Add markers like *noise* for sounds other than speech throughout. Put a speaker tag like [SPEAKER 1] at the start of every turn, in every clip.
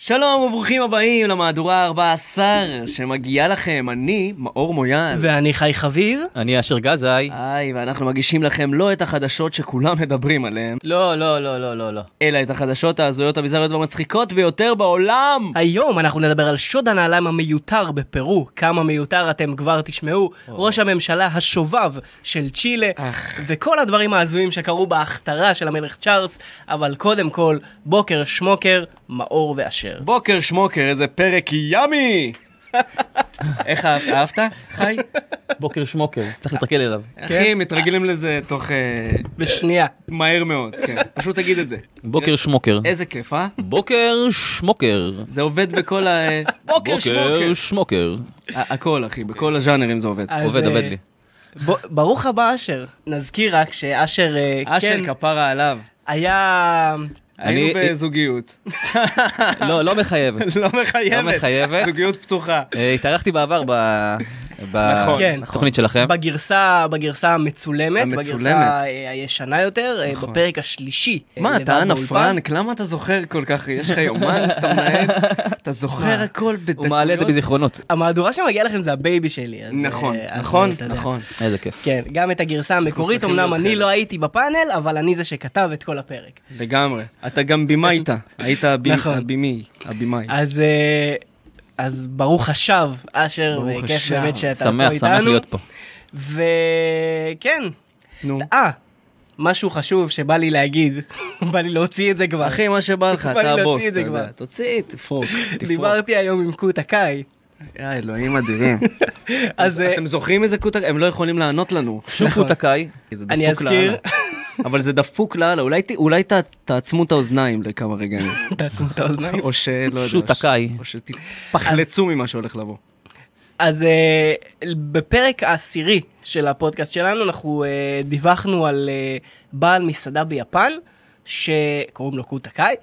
[SPEAKER 1] שלום וברוכים הבאים למהדורה ה-14 שמגיעה לכם, אני מאור מויאל.
[SPEAKER 2] ואני חי חביב.
[SPEAKER 3] אני אשר גזאי.
[SPEAKER 1] היי, ואנחנו מגישים לכם לא את החדשות שכולם מדברים עליהן,
[SPEAKER 3] לא, לא, לא, לא, לא, לא.
[SPEAKER 1] אלא את החדשות ההזויות, הביזריות והמצחיקות ביותר בעולם!
[SPEAKER 2] היום אנחנו נדבר על שוד הנעליים המיותר בפרו, כמה מיותר אתם כבר תשמעו, ראש הממשלה השובב של צ'ילה, וכל הדברים ההזויים שקרו בהכתרה של המלך צ'ארלס, אבל קודם כל, בוקר שמוקר, מאור ואשר.
[SPEAKER 1] בוקר שמוקר, איזה פרק ימי! *laughs* איך אהבת? אהבת? חי?
[SPEAKER 3] בוקר שמוקר, צריך להתרגל אליו.
[SPEAKER 2] כן.
[SPEAKER 1] אחי, מתרגלים לזה תוך... אה,
[SPEAKER 2] בשנייה.
[SPEAKER 1] מהר מאוד, כן. פשוט תגיד את זה.
[SPEAKER 3] בוקר שמוקר.
[SPEAKER 1] איזה כיף, אה?
[SPEAKER 3] בוקר שמוקר.
[SPEAKER 1] זה עובד בכל ה... אה, בוקר שמוקר!
[SPEAKER 3] בוקר שמוקר.
[SPEAKER 1] ה- הכל, אחי, בכל הז'אנרים זה עובד.
[SPEAKER 2] אז,
[SPEAKER 3] עובד,
[SPEAKER 2] אה,
[SPEAKER 3] עובד
[SPEAKER 2] *laughs*
[SPEAKER 3] לי.
[SPEAKER 2] ב- ברוך הבא אשר. נזכיר רק שאשר, אה,
[SPEAKER 1] אשר
[SPEAKER 2] כן,
[SPEAKER 1] כפרה עליו.
[SPEAKER 2] היה...
[SPEAKER 1] היינו
[SPEAKER 3] אני-
[SPEAKER 1] בזוגיות. *laughs*
[SPEAKER 3] לא, לא מחייב.
[SPEAKER 1] לא מחייבת.
[SPEAKER 3] לא מחייבת.
[SPEAKER 1] זוגיות פתוחה.
[SPEAKER 3] אה, התארחתי בעבר ב-
[SPEAKER 1] נכון,
[SPEAKER 2] כן.
[SPEAKER 3] בתוכנית שלכם.
[SPEAKER 2] בגרסה, בגרסה המצולמת,
[SPEAKER 1] המצולמת. נכון.
[SPEAKER 2] בגרסה אה, הישנה יותר, אה, בפרק השלישי. אה,
[SPEAKER 1] מה,
[SPEAKER 2] לבד
[SPEAKER 1] אתה אנה
[SPEAKER 2] באולפן.
[SPEAKER 1] פרנק? למה אתה זוכר כל כך? יש לך יומן שאתה
[SPEAKER 2] *laughs*
[SPEAKER 1] מנהל? אתה זוכר
[SPEAKER 2] מה?
[SPEAKER 1] הכל בדקויות?
[SPEAKER 3] הוא מעלה את זה בזיכרונות.
[SPEAKER 2] המהדורה שמגיעה לכם זה הבייבי שלי. אז,
[SPEAKER 1] נכון,
[SPEAKER 2] אה, אז,
[SPEAKER 1] נכון,
[SPEAKER 2] אתה יודע.
[SPEAKER 1] נכון.
[SPEAKER 3] איזה כיף.
[SPEAKER 2] כן, גם את הגרסה המקורית,
[SPEAKER 1] מסתכלים
[SPEAKER 2] אמנם אני
[SPEAKER 1] עליכם.
[SPEAKER 2] לא הייתי בפאנל, אבל אני זה שכתב את כל הפרק.
[SPEAKER 1] כן. לגמרי. אתה גם בימאית,
[SPEAKER 2] *laughs*
[SPEAKER 1] היית הבי-
[SPEAKER 2] אה, נכון.
[SPEAKER 1] הבימי, הבימאי.
[SPEAKER 2] אז... אה, אז ברוך השב, אשר,
[SPEAKER 1] ברוך
[SPEAKER 2] וכיף
[SPEAKER 1] השב.
[SPEAKER 2] באמת שאתה פה
[SPEAKER 3] שמח,
[SPEAKER 2] לא איתנו. נכון.
[SPEAKER 3] שמח להיות פה.
[SPEAKER 2] וכן,
[SPEAKER 1] נו.
[SPEAKER 2] אה, משהו חשוב שבא לי להגיד, *laughs* בא לי להוציא את זה כבר.
[SPEAKER 1] אחי, מה שבא לך,
[SPEAKER 2] אה, בא לי
[SPEAKER 1] אתה הבוס,
[SPEAKER 2] להוציא את
[SPEAKER 1] אתה
[SPEAKER 2] זה
[SPEAKER 1] יודע.
[SPEAKER 2] כבר.
[SPEAKER 1] תוציא,
[SPEAKER 2] *laughs*
[SPEAKER 1] תפרוק, תפרוק.
[SPEAKER 2] דיברתי היום עם קוטה קאי,
[SPEAKER 1] יא אלוהים
[SPEAKER 2] *laughs*
[SPEAKER 1] אדירים.
[SPEAKER 2] אז אה,
[SPEAKER 1] אתם זוכרים איזה קוטק? הם לא יכולים לענות לנו.
[SPEAKER 3] שוקו טקאי.
[SPEAKER 1] כי זה
[SPEAKER 2] אני
[SPEAKER 1] דפוק
[SPEAKER 2] אזכיר. *laughs*
[SPEAKER 1] לאללה. אבל זה דפוק לאללה, אולי ת- אולי ת- תעצמו את האוזניים לכמה רגעים.
[SPEAKER 2] תעצמו את האוזניים.
[SPEAKER 1] *laughs* או שלא יודע.
[SPEAKER 3] שוט הקאי.
[SPEAKER 1] או שתפחלצו ממה שהולך לבוא.
[SPEAKER 2] אז אה, בפרק העשירי של הפודקאסט שלנו, אנחנו אה, דיווחנו על אה, בעל מסעדה ביפן, שקוראים לו קוטה קאי,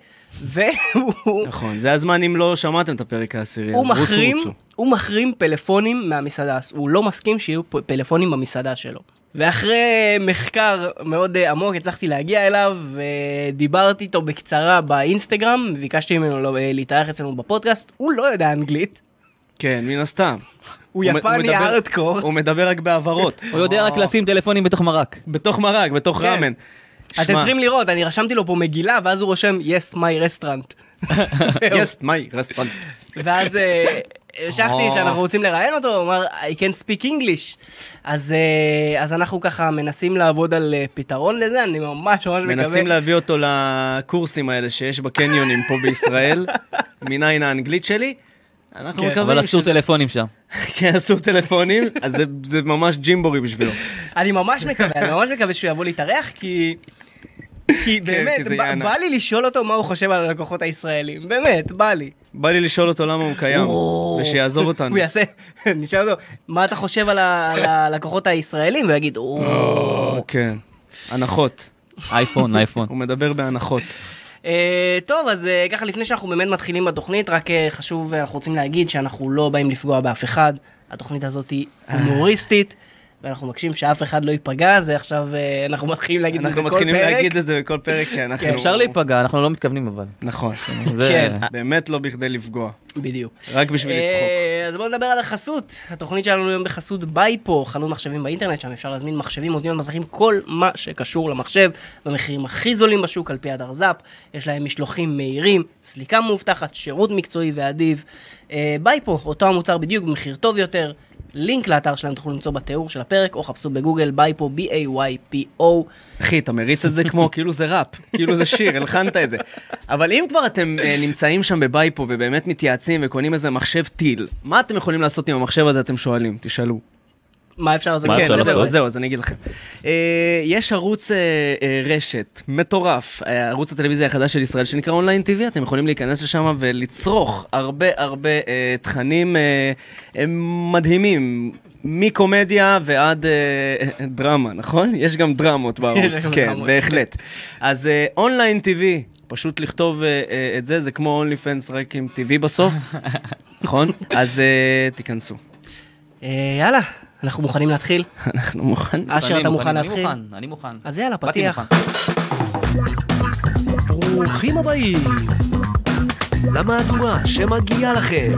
[SPEAKER 2] *laughs* והוא
[SPEAKER 1] נכון, זה הזמן אם לא שמעתם את הפרק העשירי.
[SPEAKER 2] הוא
[SPEAKER 1] אז רוצו,
[SPEAKER 2] מחרים,
[SPEAKER 1] רוצו.
[SPEAKER 2] הוא מחרים פלאפונים מהמסעדה, הוא לא מסכים שיהיו פ- פלאפונים במסעדה שלו. ואחרי מחקר מאוד אה, עמוק הצלחתי להגיע אליו, ודיברתי איתו בקצרה באינסטגרם, ביקשתי ממנו לא- אה, להתארח אצלנו בפודקאסט, הוא לא יודע אנגלית,
[SPEAKER 1] כן, מן הסתם.
[SPEAKER 2] הוא
[SPEAKER 1] מ-
[SPEAKER 2] יפני
[SPEAKER 1] מדבר-
[SPEAKER 2] הארדקור.
[SPEAKER 1] הוא מדבר רק
[SPEAKER 2] *laughs*
[SPEAKER 1] בהבהרות.
[SPEAKER 3] הוא יודע רק לשים טלפונים בתוך מרק.
[SPEAKER 1] בתוך מרק, בתוך
[SPEAKER 2] כן.
[SPEAKER 1] ראמן.
[SPEAKER 2] אתם צריכים לראות, אני רשמתי לו פה מגילה, ואז הוא רושם, yes, my
[SPEAKER 1] *laughs*
[SPEAKER 2] restaurant. זהו.
[SPEAKER 1] יס, מי, רסטרנט. *laughs*
[SPEAKER 2] ואז אה, המשכתי
[SPEAKER 1] אה.
[SPEAKER 2] שאנחנו רוצים לראיין אותו, הוא אמר, I can speak English. אז אה, אז אנחנו ככה מנסים לעבוד על אה, פתרון לזה, אני ממש ממש
[SPEAKER 1] מנסים
[SPEAKER 2] מקווה.
[SPEAKER 1] להביא אותו לקורסים האלה שיש בקניונים פה
[SPEAKER 2] *laughs*
[SPEAKER 1] בישראל. מניין האנגלית שלי. אנחנו
[SPEAKER 2] כן,
[SPEAKER 1] מקווים
[SPEAKER 3] אבל אסור
[SPEAKER 1] שזה- *laughs*
[SPEAKER 3] טלפונים שם. *laughs*
[SPEAKER 1] כן, אסור טלפונים, אז זה- זה ממש ג'ימבורי בשבילו.
[SPEAKER 2] אני ממש מקווה, אני ממש מקווה שהוא יבוא להתארח, כי... כי באמת,
[SPEAKER 1] כן, כי זה
[SPEAKER 2] בא-
[SPEAKER 1] יהיה ענק.
[SPEAKER 2] בא לי לשאול אותו מה הוא חושב על הלקוחות הישראלים, באמת, בא לי.
[SPEAKER 1] בא לי לשאול אותו למה הוא קיים, ושיעזוב אותנו.
[SPEAKER 2] הוא יעשה, *laughs* נשאל אותו, מה אתה חושב על ה- על הלקוחות הישראלים? והוא יגיד, "או".
[SPEAKER 1] או, כן. הנחות.
[SPEAKER 3] אייפון, אייפון.
[SPEAKER 1] הוא מדבר בהנחות.
[SPEAKER 2] אה, טוב, אז אה, ככה לפני שאנחנו באמת מתחילים בתוכנית, רק אה, חשוב, אה, אנחנו רוצים להגיד שאנחנו לא באים לפגוע באף אחד. התוכנית הזאת היא
[SPEAKER 1] אה.
[SPEAKER 2] הומוריסטית, ואנחנו מבקשים שאף אחד לא ייפגע, זה עכשיו, אה, אנחנו מתחילים להגיד את זה
[SPEAKER 1] אנחנו
[SPEAKER 2] בכל פרק.
[SPEAKER 1] מתחילים להגיד את זה בכל פרק, כי אנחנו...
[SPEAKER 3] אפשר להיפגע, אנחנו לא מתכוונים אבל.
[SPEAKER 1] נכון.
[SPEAKER 3] זה-
[SPEAKER 2] כן.
[SPEAKER 1] באמת לא בכדי לפגוע,
[SPEAKER 2] בדיוק.
[SPEAKER 1] רק בשביל לצחוק.
[SPEAKER 2] אה, אז בואו נדבר על החסות. התוכנית שלנו היום בחסות בייפו, חנות מחשבים באינטרנט, שם אפשר להזמין מחשבים, אוזניות, מזרחים, כל מה שקשור למחשב, במחירים הכי זולים בשוק, על פי הדרז"פ. יש להם משלוחים מהירים, סליקה מאובטחת, שירות מקצועי ואדיב. אה, בייפו, אותו המוצר בדיוק, במחיר טוב יותר. לינק לאתר שלהם תוכלו למצוא בתיאור של הפרק, או חפשו בגוגל בייפו, B-A-Y-P-O.
[SPEAKER 1] אחי, אתה מריץ את זה כמו, *laughs* כאילו זה ראפ, כאילו זה שיר, הלחנת את זה. אבל אם כבר אתם אה, נמצאים שם בבייפו ובאמת מתייעצים וקונים איזה מחשב טיל, מה אתם יכולים לעשות עם המחשב הזה, אתם שואלים, תשאלו.
[SPEAKER 2] מה אפשר לעשות?
[SPEAKER 3] מה
[SPEAKER 1] כן,
[SPEAKER 3] אפשר
[SPEAKER 2] בזה?
[SPEAKER 3] לעשות?
[SPEAKER 1] זהו, זהו, אז אני אגיד לכם. אה, יש ערוץ אה, אה, רשת מטורף, אה, ערוץ הטלוויזיה החדש של ישראל שנקרא אונליין TV, אתם יכולים להיכנס לשם ולצרוך הרבה הרבה אה, תכנים אה, אה, מדהימים. מקומדיה ועד אה, אה, דרמה, נכון? יש גם דרמות
[SPEAKER 2] יש
[SPEAKER 1] בערוץ,
[SPEAKER 2] גם
[SPEAKER 1] כן,
[SPEAKER 2] דרמות.
[SPEAKER 1] בהחלט. אז אה, אונליין TV, פשוט לכתוב אה, אה, את זה, זה כמו אונלי פנס רק עם TV בסוף, נכון? אז אה, תיכנסו.
[SPEAKER 2] אה, יאללה, אנחנו מוכנים להתחיל?
[SPEAKER 1] אנחנו מוכנים.
[SPEAKER 2] אשר, אתה מוכן
[SPEAKER 3] אני
[SPEAKER 2] להתחיל?
[SPEAKER 3] מוכן, אני מוכן.
[SPEAKER 2] אז יאללה,
[SPEAKER 3] באתי
[SPEAKER 2] פתיח.
[SPEAKER 3] מוכן.
[SPEAKER 2] ברוכים הבאים
[SPEAKER 4] למהדורה שמגיעה לכם.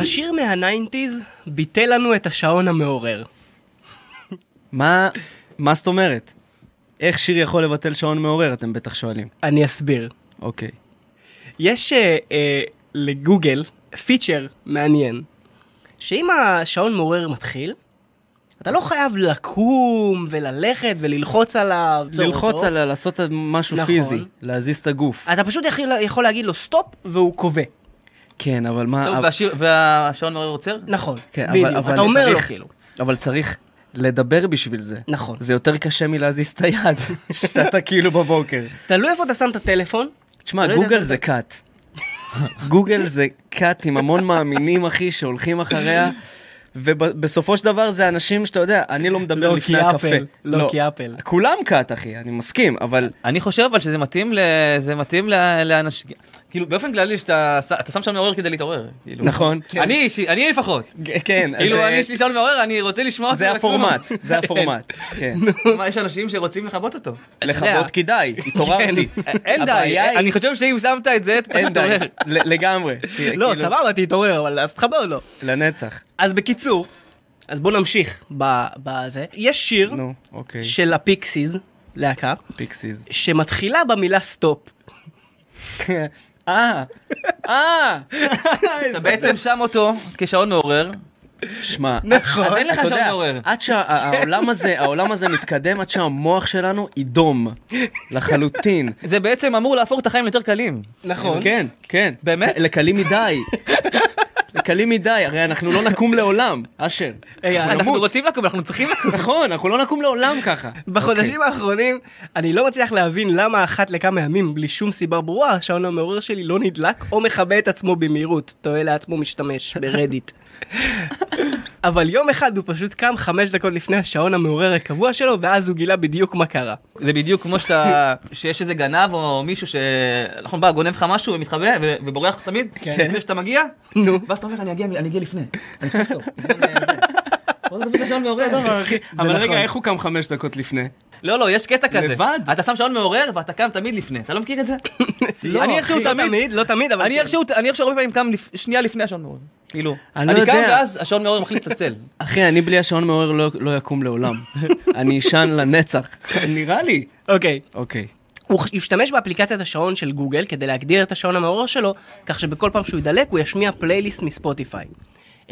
[SPEAKER 2] השיר מהניינטיז ביטל לנו את השעון המעורר.
[SPEAKER 1] מה, מה זאת אומרת? איך שיר יכול לבטל שעון מעורר, אתם בטח שואלים.
[SPEAKER 2] אני אסביר.
[SPEAKER 1] אוקיי.
[SPEAKER 2] יש אה, אה, לגוגל פיצ'ר מעניין, שאם השעון מעורר מתחיל, אתה לא חייב לקום וללכת וללחוץ עליו.
[SPEAKER 1] ללחוץ על לעשות משהו
[SPEAKER 2] נכון.
[SPEAKER 1] פיזי, להזיז את הגוף.
[SPEAKER 2] אתה פשוט יכול- יכול להגיד לו סטופ והוא קובע.
[SPEAKER 1] כן, אבל מה...
[SPEAKER 3] טוב,
[SPEAKER 1] אבל-
[SPEAKER 3] והשיר- והשעון מעורר עוצר?
[SPEAKER 2] נכון,
[SPEAKER 1] כן, אבל-
[SPEAKER 2] בדיוק.
[SPEAKER 1] אבל
[SPEAKER 2] אתה אומר לו
[SPEAKER 1] צריך-
[SPEAKER 2] כאילו.
[SPEAKER 1] אבל צריך לדבר בשביל זה.
[SPEAKER 2] נכון.
[SPEAKER 1] זה יותר קשה מלהזיז את היד, שאתה כאילו בבוקר.
[SPEAKER 2] תלוי איפה אתה שם את הטלפון.
[SPEAKER 1] תשמע,
[SPEAKER 2] לא יודע
[SPEAKER 1] גוגל
[SPEAKER 2] זה-
[SPEAKER 1] זה כת. גוגל זה כת עם המון מאמינים, אחי, שהולכים אחריה, ובסופו של דבר זה אנשים שאתה יודע, אני לא מדבר
[SPEAKER 2] לא,
[SPEAKER 1] לפני
[SPEAKER 2] כי
[SPEAKER 1] הקפה.
[SPEAKER 2] אפל. לא, כי אפל.
[SPEAKER 1] כולם כת, אחי, אני מסכים,
[SPEAKER 2] *laughs*
[SPEAKER 1] אבל...
[SPEAKER 3] אני חושב אבל שזה מתאים ל... זה מתאים ל- לאנשים... כאילו באופן כללי שאתה ש- אתה שם שעון מעורר כדי להתעורר. כאילו.
[SPEAKER 1] נכון.
[SPEAKER 3] אני אישי- אני לפחות.
[SPEAKER 1] כן, אז,
[SPEAKER 3] כאילו
[SPEAKER 1] אה,
[SPEAKER 3] אני יש לי שעון מעורר אני רוצה לשמוע
[SPEAKER 1] זה
[SPEAKER 3] אותו
[SPEAKER 1] הפורמט,
[SPEAKER 3] לקום. *laughs*
[SPEAKER 1] זה הפורמט. כן.
[SPEAKER 3] כן. מה יש אנשים שרוצים לכבות אותו.
[SPEAKER 1] לכבוד
[SPEAKER 3] *laughs*
[SPEAKER 1] כדאי, התעוררתי.
[SPEAKER 3] אין- כן, אין די,
[SPEAKER 1] הבעיה היא-
[SPEAKER 3] אני חושב שאם שמת את זה אתה
[SPEAKER 1] אין די,
[SPEAKER 3] מתעורר.
[SPEAKER 1] *laughs* ל- לגמרי.
[SPEAKER 2] לא,
[SPEAKER 1] כאילו,
[SPEAKER 2] סבבה, תתעורר, אבל אז תחבר לו.
[SPEAKER 1] לנצח.
[SPEAKER 2] אז בקיצור, אז בוא נמשיך ב- בזה. יש שיר
[SPEAKER 1] נו, אוקיי,
[SPEAKER 2] של הפיקסיז, להקה,
[SPEAKER 1] פיקסיס.
[SPEAKER 2] שמתחילה במילה סטופ.
[SPEAKER 1] *laughs* אה, אה.
[SPEAKER 3] אתה בעצם שם אותו כשעון מעורר.
[SPEAKER 1] שמע,
[SPEAKER 2] נכון.
[SPEAKER 1] אז
[SPEAKER 3] אין לך
[SPEAKER 1] אוקיי, אתה
[SPEAKER 3] שעון
[SPEAKER 1] יודע,
[SPEAKER 3] מעורר.
[SPEAKER 1] עד שהעולם הזה, העולם הזה מתקדם, עד שהמוח שלנו יידום לחלוטין.
[SPEAKER 3] זה בעצם אמור להפוך את החיים ליותר קלים.
[SPEAKER 2] נכון.
[SPEAKER 1] כן, כן.
[SPEAKER 3] באמת?
[SPEAKER 1] לקלים מדי. לקלים מדי, הרי אנחנו לא נקום לעולם, אשר.
[SPEAKER 2] רגע,
[SPEAKER 1] אנחנו
[SPEAKER 3] אנחנו
[SPEAKER 1] נמות.
[SPEAKER 3] רוצים לקום אנחנו צריכים לקום.
[SPEAKER 1] נכון, אנחנו לא נקום לעולם ככה.
[SPEAKER 2] בחודשים האחרונים, אני לא מצליח להבין למה אחת לכמה ימים, בלי שום סיבה ברורה, השעון המעורר שלי לא נדלק או מכבה את עצמו במהירות. טועה לעצמו משתמש *laughs* ברדיט. אבל יום אחד הוא פשוט קם חמש דקות לפני השעון המעורר הקבוע שלו, ואז הוא גילה בדיוק מה קרה.
[SPEAKER 3] זה בדיוק כמו שאתה, שיש איזה גנב או מישהו ש... נכון, בא, גונב לך משהו ומתחבא ו- ובורח לך תמיד,
[SPEAKER 2] כן.
[SPEAKER 3] *laughs* לפני שאתה מגיע,
[SPEAKER 2] נו.
[SPEAKER 3] ואז אתה אומר, אני אגיע, אני אגיע לפני. אני אצטרך אותו. זה- בוא נדבר את השעון מעורר.
[SPEAKER 1] אבל
[SPEAKER 2] נכון.
[SPEAKER 1] רגע, איך הוא קם חמש דקות לפני?
[SPEAKER 3] לא, לא, יש קטע כזה.
[SPEAKER 1] לבד?
[SPEAKER 3] אתה שם שעון מעורר ואתה קם תמיד לפני. אתה לא מכיר את זה?
[SPEAKER 2] לא,
[SPEAKER 3] אני
[SPEAKER 2] אחי,
[SPEAKER 3] איכשהו
[SPEAKER 2] לא
[SPEAKER 3] תמיד...
[SPEAKER 2] לא תמיד, אבל...
[SPEAKER 3] אני
[SPEAKER 2] כן.
[SPEAKER 3] איכשהו, אני איכשהו הרבה פעמים קם לפ... שנייה לפני השעון מעורר. כאילו,
[SPEAKER 1] אני לא
[SPEAKER 3] אני קם
[SPEAKER 1] יודע.
[SPEAKER 3] ואז השעון מעורר מחליט לצלצל.
[SPEAKER 1] אחי, אני בלי השעון מעורר לא- לא יקום *laughs* לעולם. אני אשן לנצח. נראה לי.
[SPEAKER 2] אוקיי.
[SPEAKER 1] אוקיי.
[SPEAKER 2] הוא ח- ישתמש באפליקציית השעון של גוגל כדי להגדיר את השעון המעורר שלו, כך שבכל פעם שהוא ידלק הוא ישמיע פלייליסט מספוטיפיי.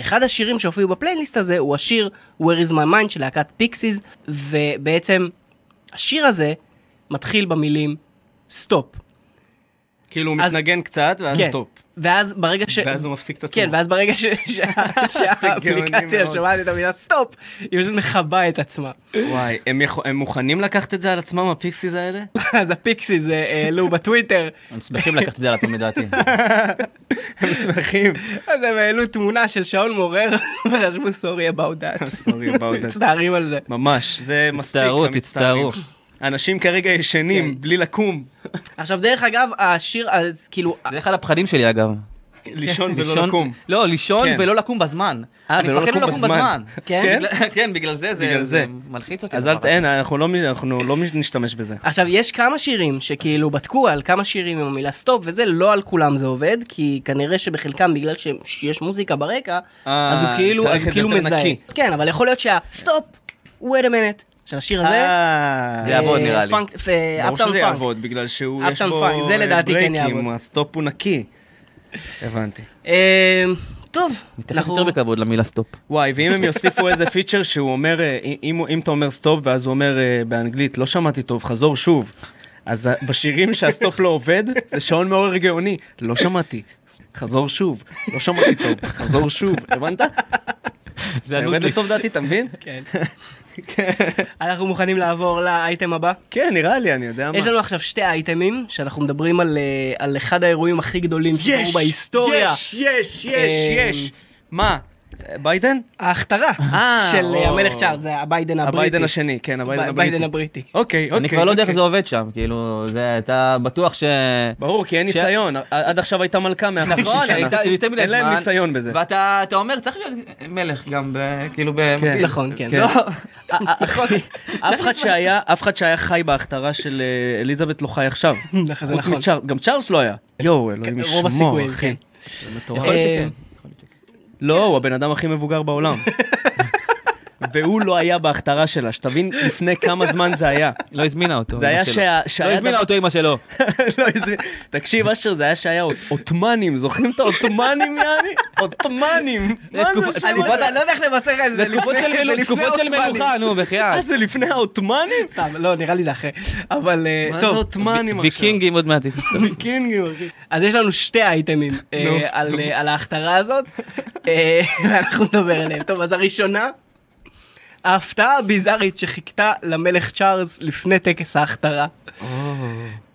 [SPEAKER 2] אחד השירים שהופיעו בפלייליסט הזה הוא השיר Where is my mind של להקת פיקסיס, ובעצם השיר הזה מתחיל במילים סטופ.
[SPEAKER 1] כאילו הוא
[SPEAKER 2] אז-
[SPEAKER 1] מתנגן קצת, ואז
[SPEAKER 2] כן.
[SPEAKER 1] סטופ.
[SPEAKER 2] ואז ברגע ש...
[SPEAKER 1] ואז הוא מפסיק את עצמו.
[SPEAKER 2] כן, ואז ברגע ש- *laughs*
[SPEAKER 1] *laughs*
[SPEAKER 2] ש- שהאפליקציה
[SPEAKER 1] מאוד.
[SPEAKER 2] שומעת את המילה סטופ, היא פשוט מכבה את עצמה. *laughs*
[SPEAKER 1] וואי, הם, יכול, הם מוכנים לקחת את זה על עצמם, הפיקסיס האלה? *laughs*
[SPEAKER 2] אז הפיקסיס אה, העלו בטוויטר
[SPEAKER 3] הם שמחים לקחת את זה על עצמם לדעתי.
[SPEAKER 1] הם שמחים.
[SPEAKER 2] אז הם העלו תמונה של שעון מעורר *laughs* וחשבו sorry about that.
[SPEAKER 1] *laughs* Sorry about that.
[SPEAKER 2] מצטערים על זה.
[SPEAKER 1] ממש, זה מספיק.
[SPEAKER 3] הצטערו, כן.
[SPEAKER 1] המצטערים. אנשים כרגע ישנים, בלי לקום,
[SPEAKER 2] עכשיו דרך אגב השיר אז כאילו
[SPEAKER 3] זה אחד הפחדים שלי אגב.
[SPEAKER 1] לישון ולא
[SPEAKER 3] כן. לישון-
[SPEAKER 1] לקום.
[SPEAKER 3] לא, לישון
[SPEAKER 1] כן.
[SPEAKER 3] ולא לקום בזמן.
[SPEAKER 1] אה,
[SPEAKER 3] אני
[SPEAKER 1] ולא
[SPEAKER 3] מפחד
[SPEAKER 1] לקום
[SPEAKER 3] לא לקום
[SPEAKER 1] בזמן.
[SPEAKER 3] בזמן.
[SPEAKER 1] כן?
[SPEAKER 3] בגלל- *laughs* כן, בגלל זה זה-
[SPEAKER 1] בגלל זה.
[SPEAKER 3] זה מלחיץ אותי.
[SPEAKER 1] אז
[SPEAKER 3] הדבר
[SPEAKER 1] אל
[SPEAKER 3] הזה.
[SPEAKER 1] תהן, אנחנו לא מ- אנחנו לא נשתמש בזה.
[SPEAKER 2] עכשיו יש כמה שירים שכאילו בדקו על כמה שירים עם המילה סטופ וזה לא על כולם זה עובד כי כנראה שבחלקם בגלל ש- שיש מוזיקה ברקע
[SPEAKER 1] אה,
[SPEAKER 2] אז הוא כאילו
[SPEAKER 1] צריך
[SPEAKER 2] אז
[SPEAKER 1] את זה
[SPEAKER 2] הוא כאילו
[SPEAKER 1] יותר
[SPEAKER 2] מזהה.
[SPEAKER 1] נקי.
[SPEAKER 2] כן אבל יכול להיות שהסטופ wait a minute שהשיר הזה.
[SPEAKER 1] אה,
[SPEAKER 3] זה יעבוד,
[SPEAKER 2] אה,
[SPEAKER 3] נראה לי.
[SPEAKER 2] פאנק- אה,
[SPEAKER 1] ברור
[SPEAKER 2] uptown
[SPEAKER 1] שזה
[SPEAKER 2] funk.
[SPEAKER 1] יעבוד, בגלל שהוא, יש
[SPEAKER 2] Uptown
[SPEAKER 1] בו
[SPEAKER 2] Funk, זה
[SPEAKER 1] אה,
[SPEAKER 2] לדעתי כן
[SPEAKER 1] ברייקים,
[SPEAKER 2] יעבוד.
[SPEAKER 1] הסטופ הוא נקי. הבנתי.
[SPEAKER 2] אה, טוב.
[SPEAKER 3] נתייחס
[SPEAKER 2] אנחנו-
[SPEAKER 3] יותר בכבוד למילה סטופ.
[SPEAKER 1] וואי, ואם הם יוסיפו איזה פיצ'ר שהוא אומר, אה, אם, אם אתה אומר סטופ ואז הוא אומר אה, באנגלית, לא שמעתי טוב, חזור שוב. אז ה- בשירים שהסטופ לא עובד, זה שעון מעורר גאוני. לא שמעתי, חזור שוב. לא שמעתי טוב, חזור שוב. הבנת?
[SPEAKER 3] זה
[SPEAKER 1] אתה יורד לסוף דעתי, אתה מבין?
[SPEAKER 2] כן. *laughs* אנחנו מוכנים לעבור לאייטם הבא.
[SPEAKER 1] כן, נראה לי, אני יודע מה.
[SPEAKER 2] יש לנו עכשיו שתי אייטמים, שאנחנו מדברים על, אה, על אחד האירועים הכי גדולים שקרו בהיסטוריה.
[SPEAKER 1] יש, יש, יש,
[SPEAKER 2] אה,
[SPEAKER 1] יש. מה? ביידן?
[SPEAKER 2] ההכתרה
[SPEAKER 1] אה,
[SPEAKER 2] של
[SPEAKER 1] או.
[SPEAKER 2] המלך צ'ארלס, זה הביידן הבריטי.
[SPEAKER 1] הביידן השני, כן, הביידן
[SPEAKER 2] ב-
[SPEAKER 1] הבריטי.
[SPEAKER 2] ביידן הבריטי.
[SPEAKER 1] אוקיי, אוקיי.
[SPEAKER 3] אני כבר לא יודע איך
[SPEAKER 1] אוקיי.
[SPEAKER 3] זה עובד שם, כאילו, זה, אתה בטוח ש...
[SPEAKER 1] ברור, כי אין
[SPEAKER 3] ש-
[SPEAKER 1] ניסיון. ע- עד עכשיו הייתה מלכה 150 שנה.
[SPEAKER 3] נכון, הייתה- יותר מדי
[SPEAKER 1] אין
[SPEAKER 3] זמן.
[SPEAKER 1] להם ניסיון בזה.
[SPEAKER 3] ואתה אתה אומר, צריך להיות מלך גם, ב- כאילו, במקביל.
[SPEAKER 2] נכון, כן.
[SPEAKER 1] כן. *laughs* אף אחד שהיה, אף אחד שהיה חי בהכתרה של אה, אליזבת לא חי עכשיו.
[SPEAKER 2] נכון,
[SPEAKER 1] *laughs*
[SPEAKER 2] זה
[SPEAKER 1] חוץ
[SPEAKER 2] נכון.
[SPEAKER 1] מצ'ארלס, גם צ'ארלס לא היה. יואו, אלוהים
[SPEAKER 2] רוב
[SPEAKER 1] ישמור,
[SPEAKER 2] הסיכויים,
[SPEAKER 1] אחי.
[SPEAKER 2] כן.
[SPEAKER 1] זה מטורף.
[SPEAKER 3] יכול להיות
[SPEAKER 2] אה,
[SPEAKER 3] שכן.
[SPEAKER 1] לא, הוא הבן אדם הכי מבוגר בעולם. והוא לא היה בהכתרה שלה, שתבין לפני כמה זמן זה היה.
[SPEAKER 3] לא הזמינה אותו.
[SPEAKER 1] זה היה
[SPEAKER 3] אמא שלו.
[SPEAKER 1] שה-
[SPEAKER 3] לא
[SPEAKER 1] שהיה
[SPEAKER 3] הזמינה
[SPEAKER 1] דבר-
[SPEAKER 3] אותו אמא
[SPEAKER 1] *laughs*
[SPEAKER 3] שלו.
[SPEAKER 1] לא הזמין. תקשיב, אשר, זה היה שהיה אות- עות'מאנים, זוכרים את העות'מאנים, יעני? עות'מאנים.
[SPEAKER 3] זה תקופה-
[SPEAKER 1] מה זה השם
[SPEAKER 2] אני
[SPEAKER 3] תקופות-
[SPEAKER 1] הזה?
[SPEAKER 2] לא- לא יודע איך לבשר לך את
[SPEAKER 3] זה
[SPEAKER 2] זה.
[SPEAKER 3] תקופות
[SPEAKER 2] לפני-
[SPEAKER 3] של
[SPEAKER 2] זה
[SPEAKER 3] מלו-
[SPEAKER 2] לפני
[SPEAKER 3] תקופות של
[SPEAKER 2] העות'מאנים.
[SPEAKER 3] מלוכה, נו, בחייאת.
[SPEAKER 1] אה, זה לפני העות'מאנים?
[SPEAKER 2] סתם, לא, נראה לי זה אחרי. אבל אה,
[SPEAKER 1] מה זה
[SPEAKER 2] טוב,
[SPEAKER 1] עות'מאנים עכשיו?
[SPEAKER 3] ויקינגים עוד מעט.
[SPEAKER 1] *laughs* ויקינגים, אחי.
[SPEAKER 2] אז יש לנו שתי אייטמים אה,
[SPEAKER 1] נו.
[SPEAKER 2] על אה, על ההכתרה הזאת, אה, ואנחנו נדבר עליהם. טוב, אז הראשונה, ההפתעה הביזארית שחיכתה למלך צ'ארלס לפני טקס ההכתרה.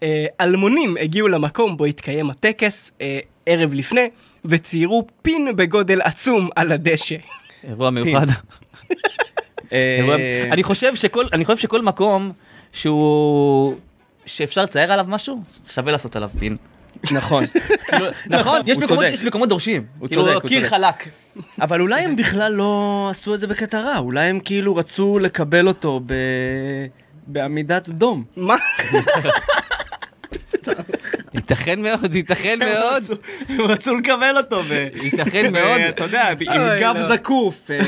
[SPEAKER 2] אה, אלמונים הגיעו למקום בו התקיים הטקס אה, ערב לפני, וציירו פין בגודל עצום על הדשא. *laughs*
[SPEAKER 3] אירוע מיוחד.
[SPEAKER 1] אה,
[SPEAKER 3] אירוע- אני חושב שכל- אני חושב שכל מקום שהוא... שאפשר לצייר עליו משהו, שווה לעשות עליו פין.
[SPEAKER 1] נכון.
[SPEAKER 3] כאילו, *laughs* נכון, יש
[SPEAKER 1] הוא
[SPEAKER 3] מקומות-
[SPEAKER 1] צודק.
[SPEAKER 3] יש מקומות דורשים.
[SPEAKER 1] הוא
[SPEAKER 3] כאילו,
[SPEAKER 1] צודק, הוא
[SPEAKER 3] קיר
[SPEAKER 1] צודק.
[SPEAKER 3] חלק.
[SPEAKER 1] אבל אולי הם בכלל לא עשו את זה בקטע רע, אולי הם כאילו רצו לקבל אותו ב... בעמידת דום.
[SPEAKER 2] מה?
[SPEAKER 3] ייתכן
[SPEAKER 1] *laughs*
[SPEAKER 3] מאוד, ייתכן מאוד.
[SPEAKER 1] הם רצו לקבל אותו ב...
[SPEAKER 3] ייתכן מאוד.
[SPEAKER 1] אתה יודע, עם
[SPEAKER 2] אוי,
[SPEAKER 1] גב
[SPEAKER 2] לא.
[SPEAKER 1] זקוף, אה,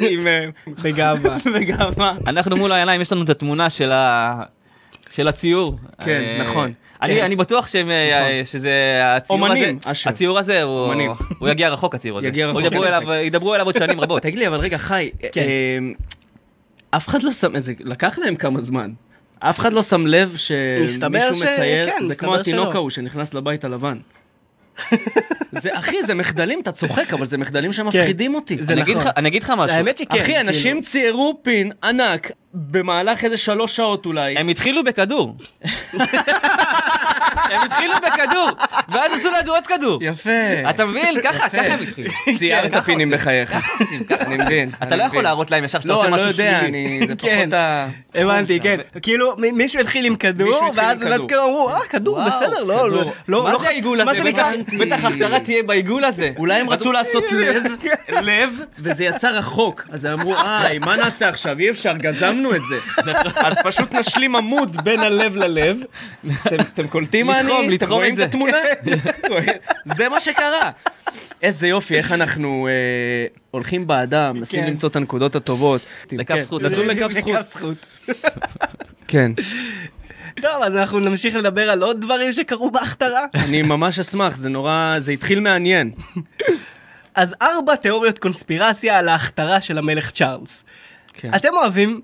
[SPEAKER 3] *laughs*
[SPEAKER 1] עם... אה,
[SPEAKER 2] בגאווה.
[SPEAKER 1] וגאווה.
[SPEAKER 3] אנחנו מול העיניים, יש לנו את התמונה של ה... של הציור.
[SPEAKER 1] כן,
[SPEAKER 3] אה,
[SPEAKER 1] נכון.
[SPEAKER 3] אני, אני בטוח שהם, אה, שזה הציור הזה,
[SPEAKER 1] אומנים, אשר.
[SPEAKER 3] הציור הזה, הוא,
[SPEAKER 1] אומנים.
[SPEAKER 3] הוא יגיע רחוק הציור הזה.
[SPEAKER 1] יגיע
[SPEAKER 3] הוא
[SPEAKER 1] רחוק,
[SPEAKER 3] ידברו
[SPEAKER 1] אין
[SPEAKER 3] אליו, ידברו אליו עוד
[SPEAKER 1] *laughs*
[SPEAKER 3] שנים רבות.
[SPEAKER 1] תגיד לי, אבל רגע, חי,
[SPEAKER 2] כן.
[SPEAKER 1] אה, אף אחד לא שם, זה לקח להם כמה זמן. אף אחד לא שם לב שמישהו
[SPEAKER 2] מסתבר ש-
[SPEAKER 1] מצייר,
[SPEAKER 2] כן,
[SPEAKER 1] זה
[SPEAKER 2] מסתבר
[SPEAKER 1] כמו התינוק
[SPEAKER 2] שלא.
[SPEAKER 1] ההוא שנכנס לבית
[SPEAKER 2] *laughs*
[SPEAKER 1] הלבן. זה, אחי, זה מחדלים, אתה צוחק, אבל זה מחדלים שמפחידים אותי.
[SPEAKER 2] כן. זה
[SPEAKER 3] אני אגיד
[SPEAKER 2] נכון.
[SPEAKER 3] לך- אני אגיד לך משהו.
[SPEAKER 2] האמת שכן.
[SPEAKER 1] אחי,
[SPEAKER 2] כאילו.
[SPEAKER 1] אנשים ציירו פין ענק במהלך איזה שלוש שעות אולי.
[SPEAKER 3] הם
[SPEAKER 1] *laughs*
[SPEAKER 3] התחילו בכדור. הם התחילו בכדור, ואז עשו לנו עוד כדור.
[SPEAKER 1] יפה.
[SPEAKER 3] אתה מבין? ככה, ככה הם התחילו. כן,
[SPEAKER 1] *laughs* ציירת
[SPEAKER 3] ככה
[SPEAKER 1] פינים
[SPEAKER 3] עושים.
[SPEAKER 1] בחייך.
[SPEAKER 3] ככה עושים, ככה
[SPEAKER 1] אני
[SPEAKER 3] עושים.
[SPEAKER 1] מבין.
[SPEAKER 3] אתה לא יכול להראות להם ישר שאתה
[SPEAKER 1] לא,
[SPEAKER 3] עושה
[SPEAKER 1] אני לא
[SPEAKER 3] משהו שלילי.
[SPEAKER 1] יודע, אני... *laughs* זה
[SPEAKER 2] כן.
[SPEAKER 1] פחות ה...
[SPEAKER 2] הבנתי, כן. כאילו, מ- מישהו התחיל עם
[SPEAKER 1] מישהו
[SPEAKER 2] כדור,
[SPEAKER 1] התחיל
[SPEAKER 2] ואז
[SPEAKER 1] עם
[SPEAKER 2] ואז
[SPEAKER 1] כדור.
[SPEAKER 2] כאילו אמרו, אה, כדור,
[SPEAKER 3] וואו,
[SPEAKER 2] בסדר, לא,
[SPEAKER 3] כדור.
[SPEAKER 2] לא, לא,
[SPEAKER 3] מה
[SPEAKER 2] לא
[SPEAKER 3] זה
[SPEAKER 2] חש-
[SPEAKER 3] העיגול הזה?
[SPEAKER 2] מה שנקרא,
[SPEAKER 3] בטח- בטח ההפטרה תהיה בעיגול הזה.
[SPEAKER 1] אולי הם רצו לעשות לב, לב, וזה יצא רחוק. אז הם אמרו, איי, מה נעשה עכשיו? אי אפשר, גזמנו את זה. אז פשוט נשלים עמוד בין הלב ללב. אתם- אתם קולטים מה
[SPEAKER 3] לתחום,
[SPEAKER 1] אני? אתם
[SPEAKER 3] לתחום
[SPEAKER 1] רואים
[SPEAKER 3] את
[SPEAKER 1] את
[SPEAKER 3] זה.
[SPEAKER 1] התמונה? זה מה שקרה. איזה יופי, איך אנחנו אה, הולכים באדם, מנסים
[SPEAKER 2] כן.
[SPEAKER 1] למצוא את הנקודות הטובות.
[SPEAKER 3] לקו
[SPEAKER 1] כן,
[SPEAKER 3] זכות.
[SPEAKER 1] נדון לקו זכות.
[SPEAKER 2] זכות.
[SPEAKER 1] כן.
[SPEAKER 2] טוב, אז לא, אנחנו נמשיך לדבר על עוד דברים שקרו
[SPEAKER 1] *laughs*
[SPEAKER 2] בהכתרה.
[SPEAKER 1] אני ממש אשמח, זה נורא... זה התחיל מעניין.
[SPEAKER 2] אז ארבע תיאוריות קונספירציה על ההכתרה של המלך צ'ארלס.
[SPEAKER 1] כן.
[SPEAKER 2] אתם
[SPEAKER 1] *laughs*
[SPEAKER 2] אוהבים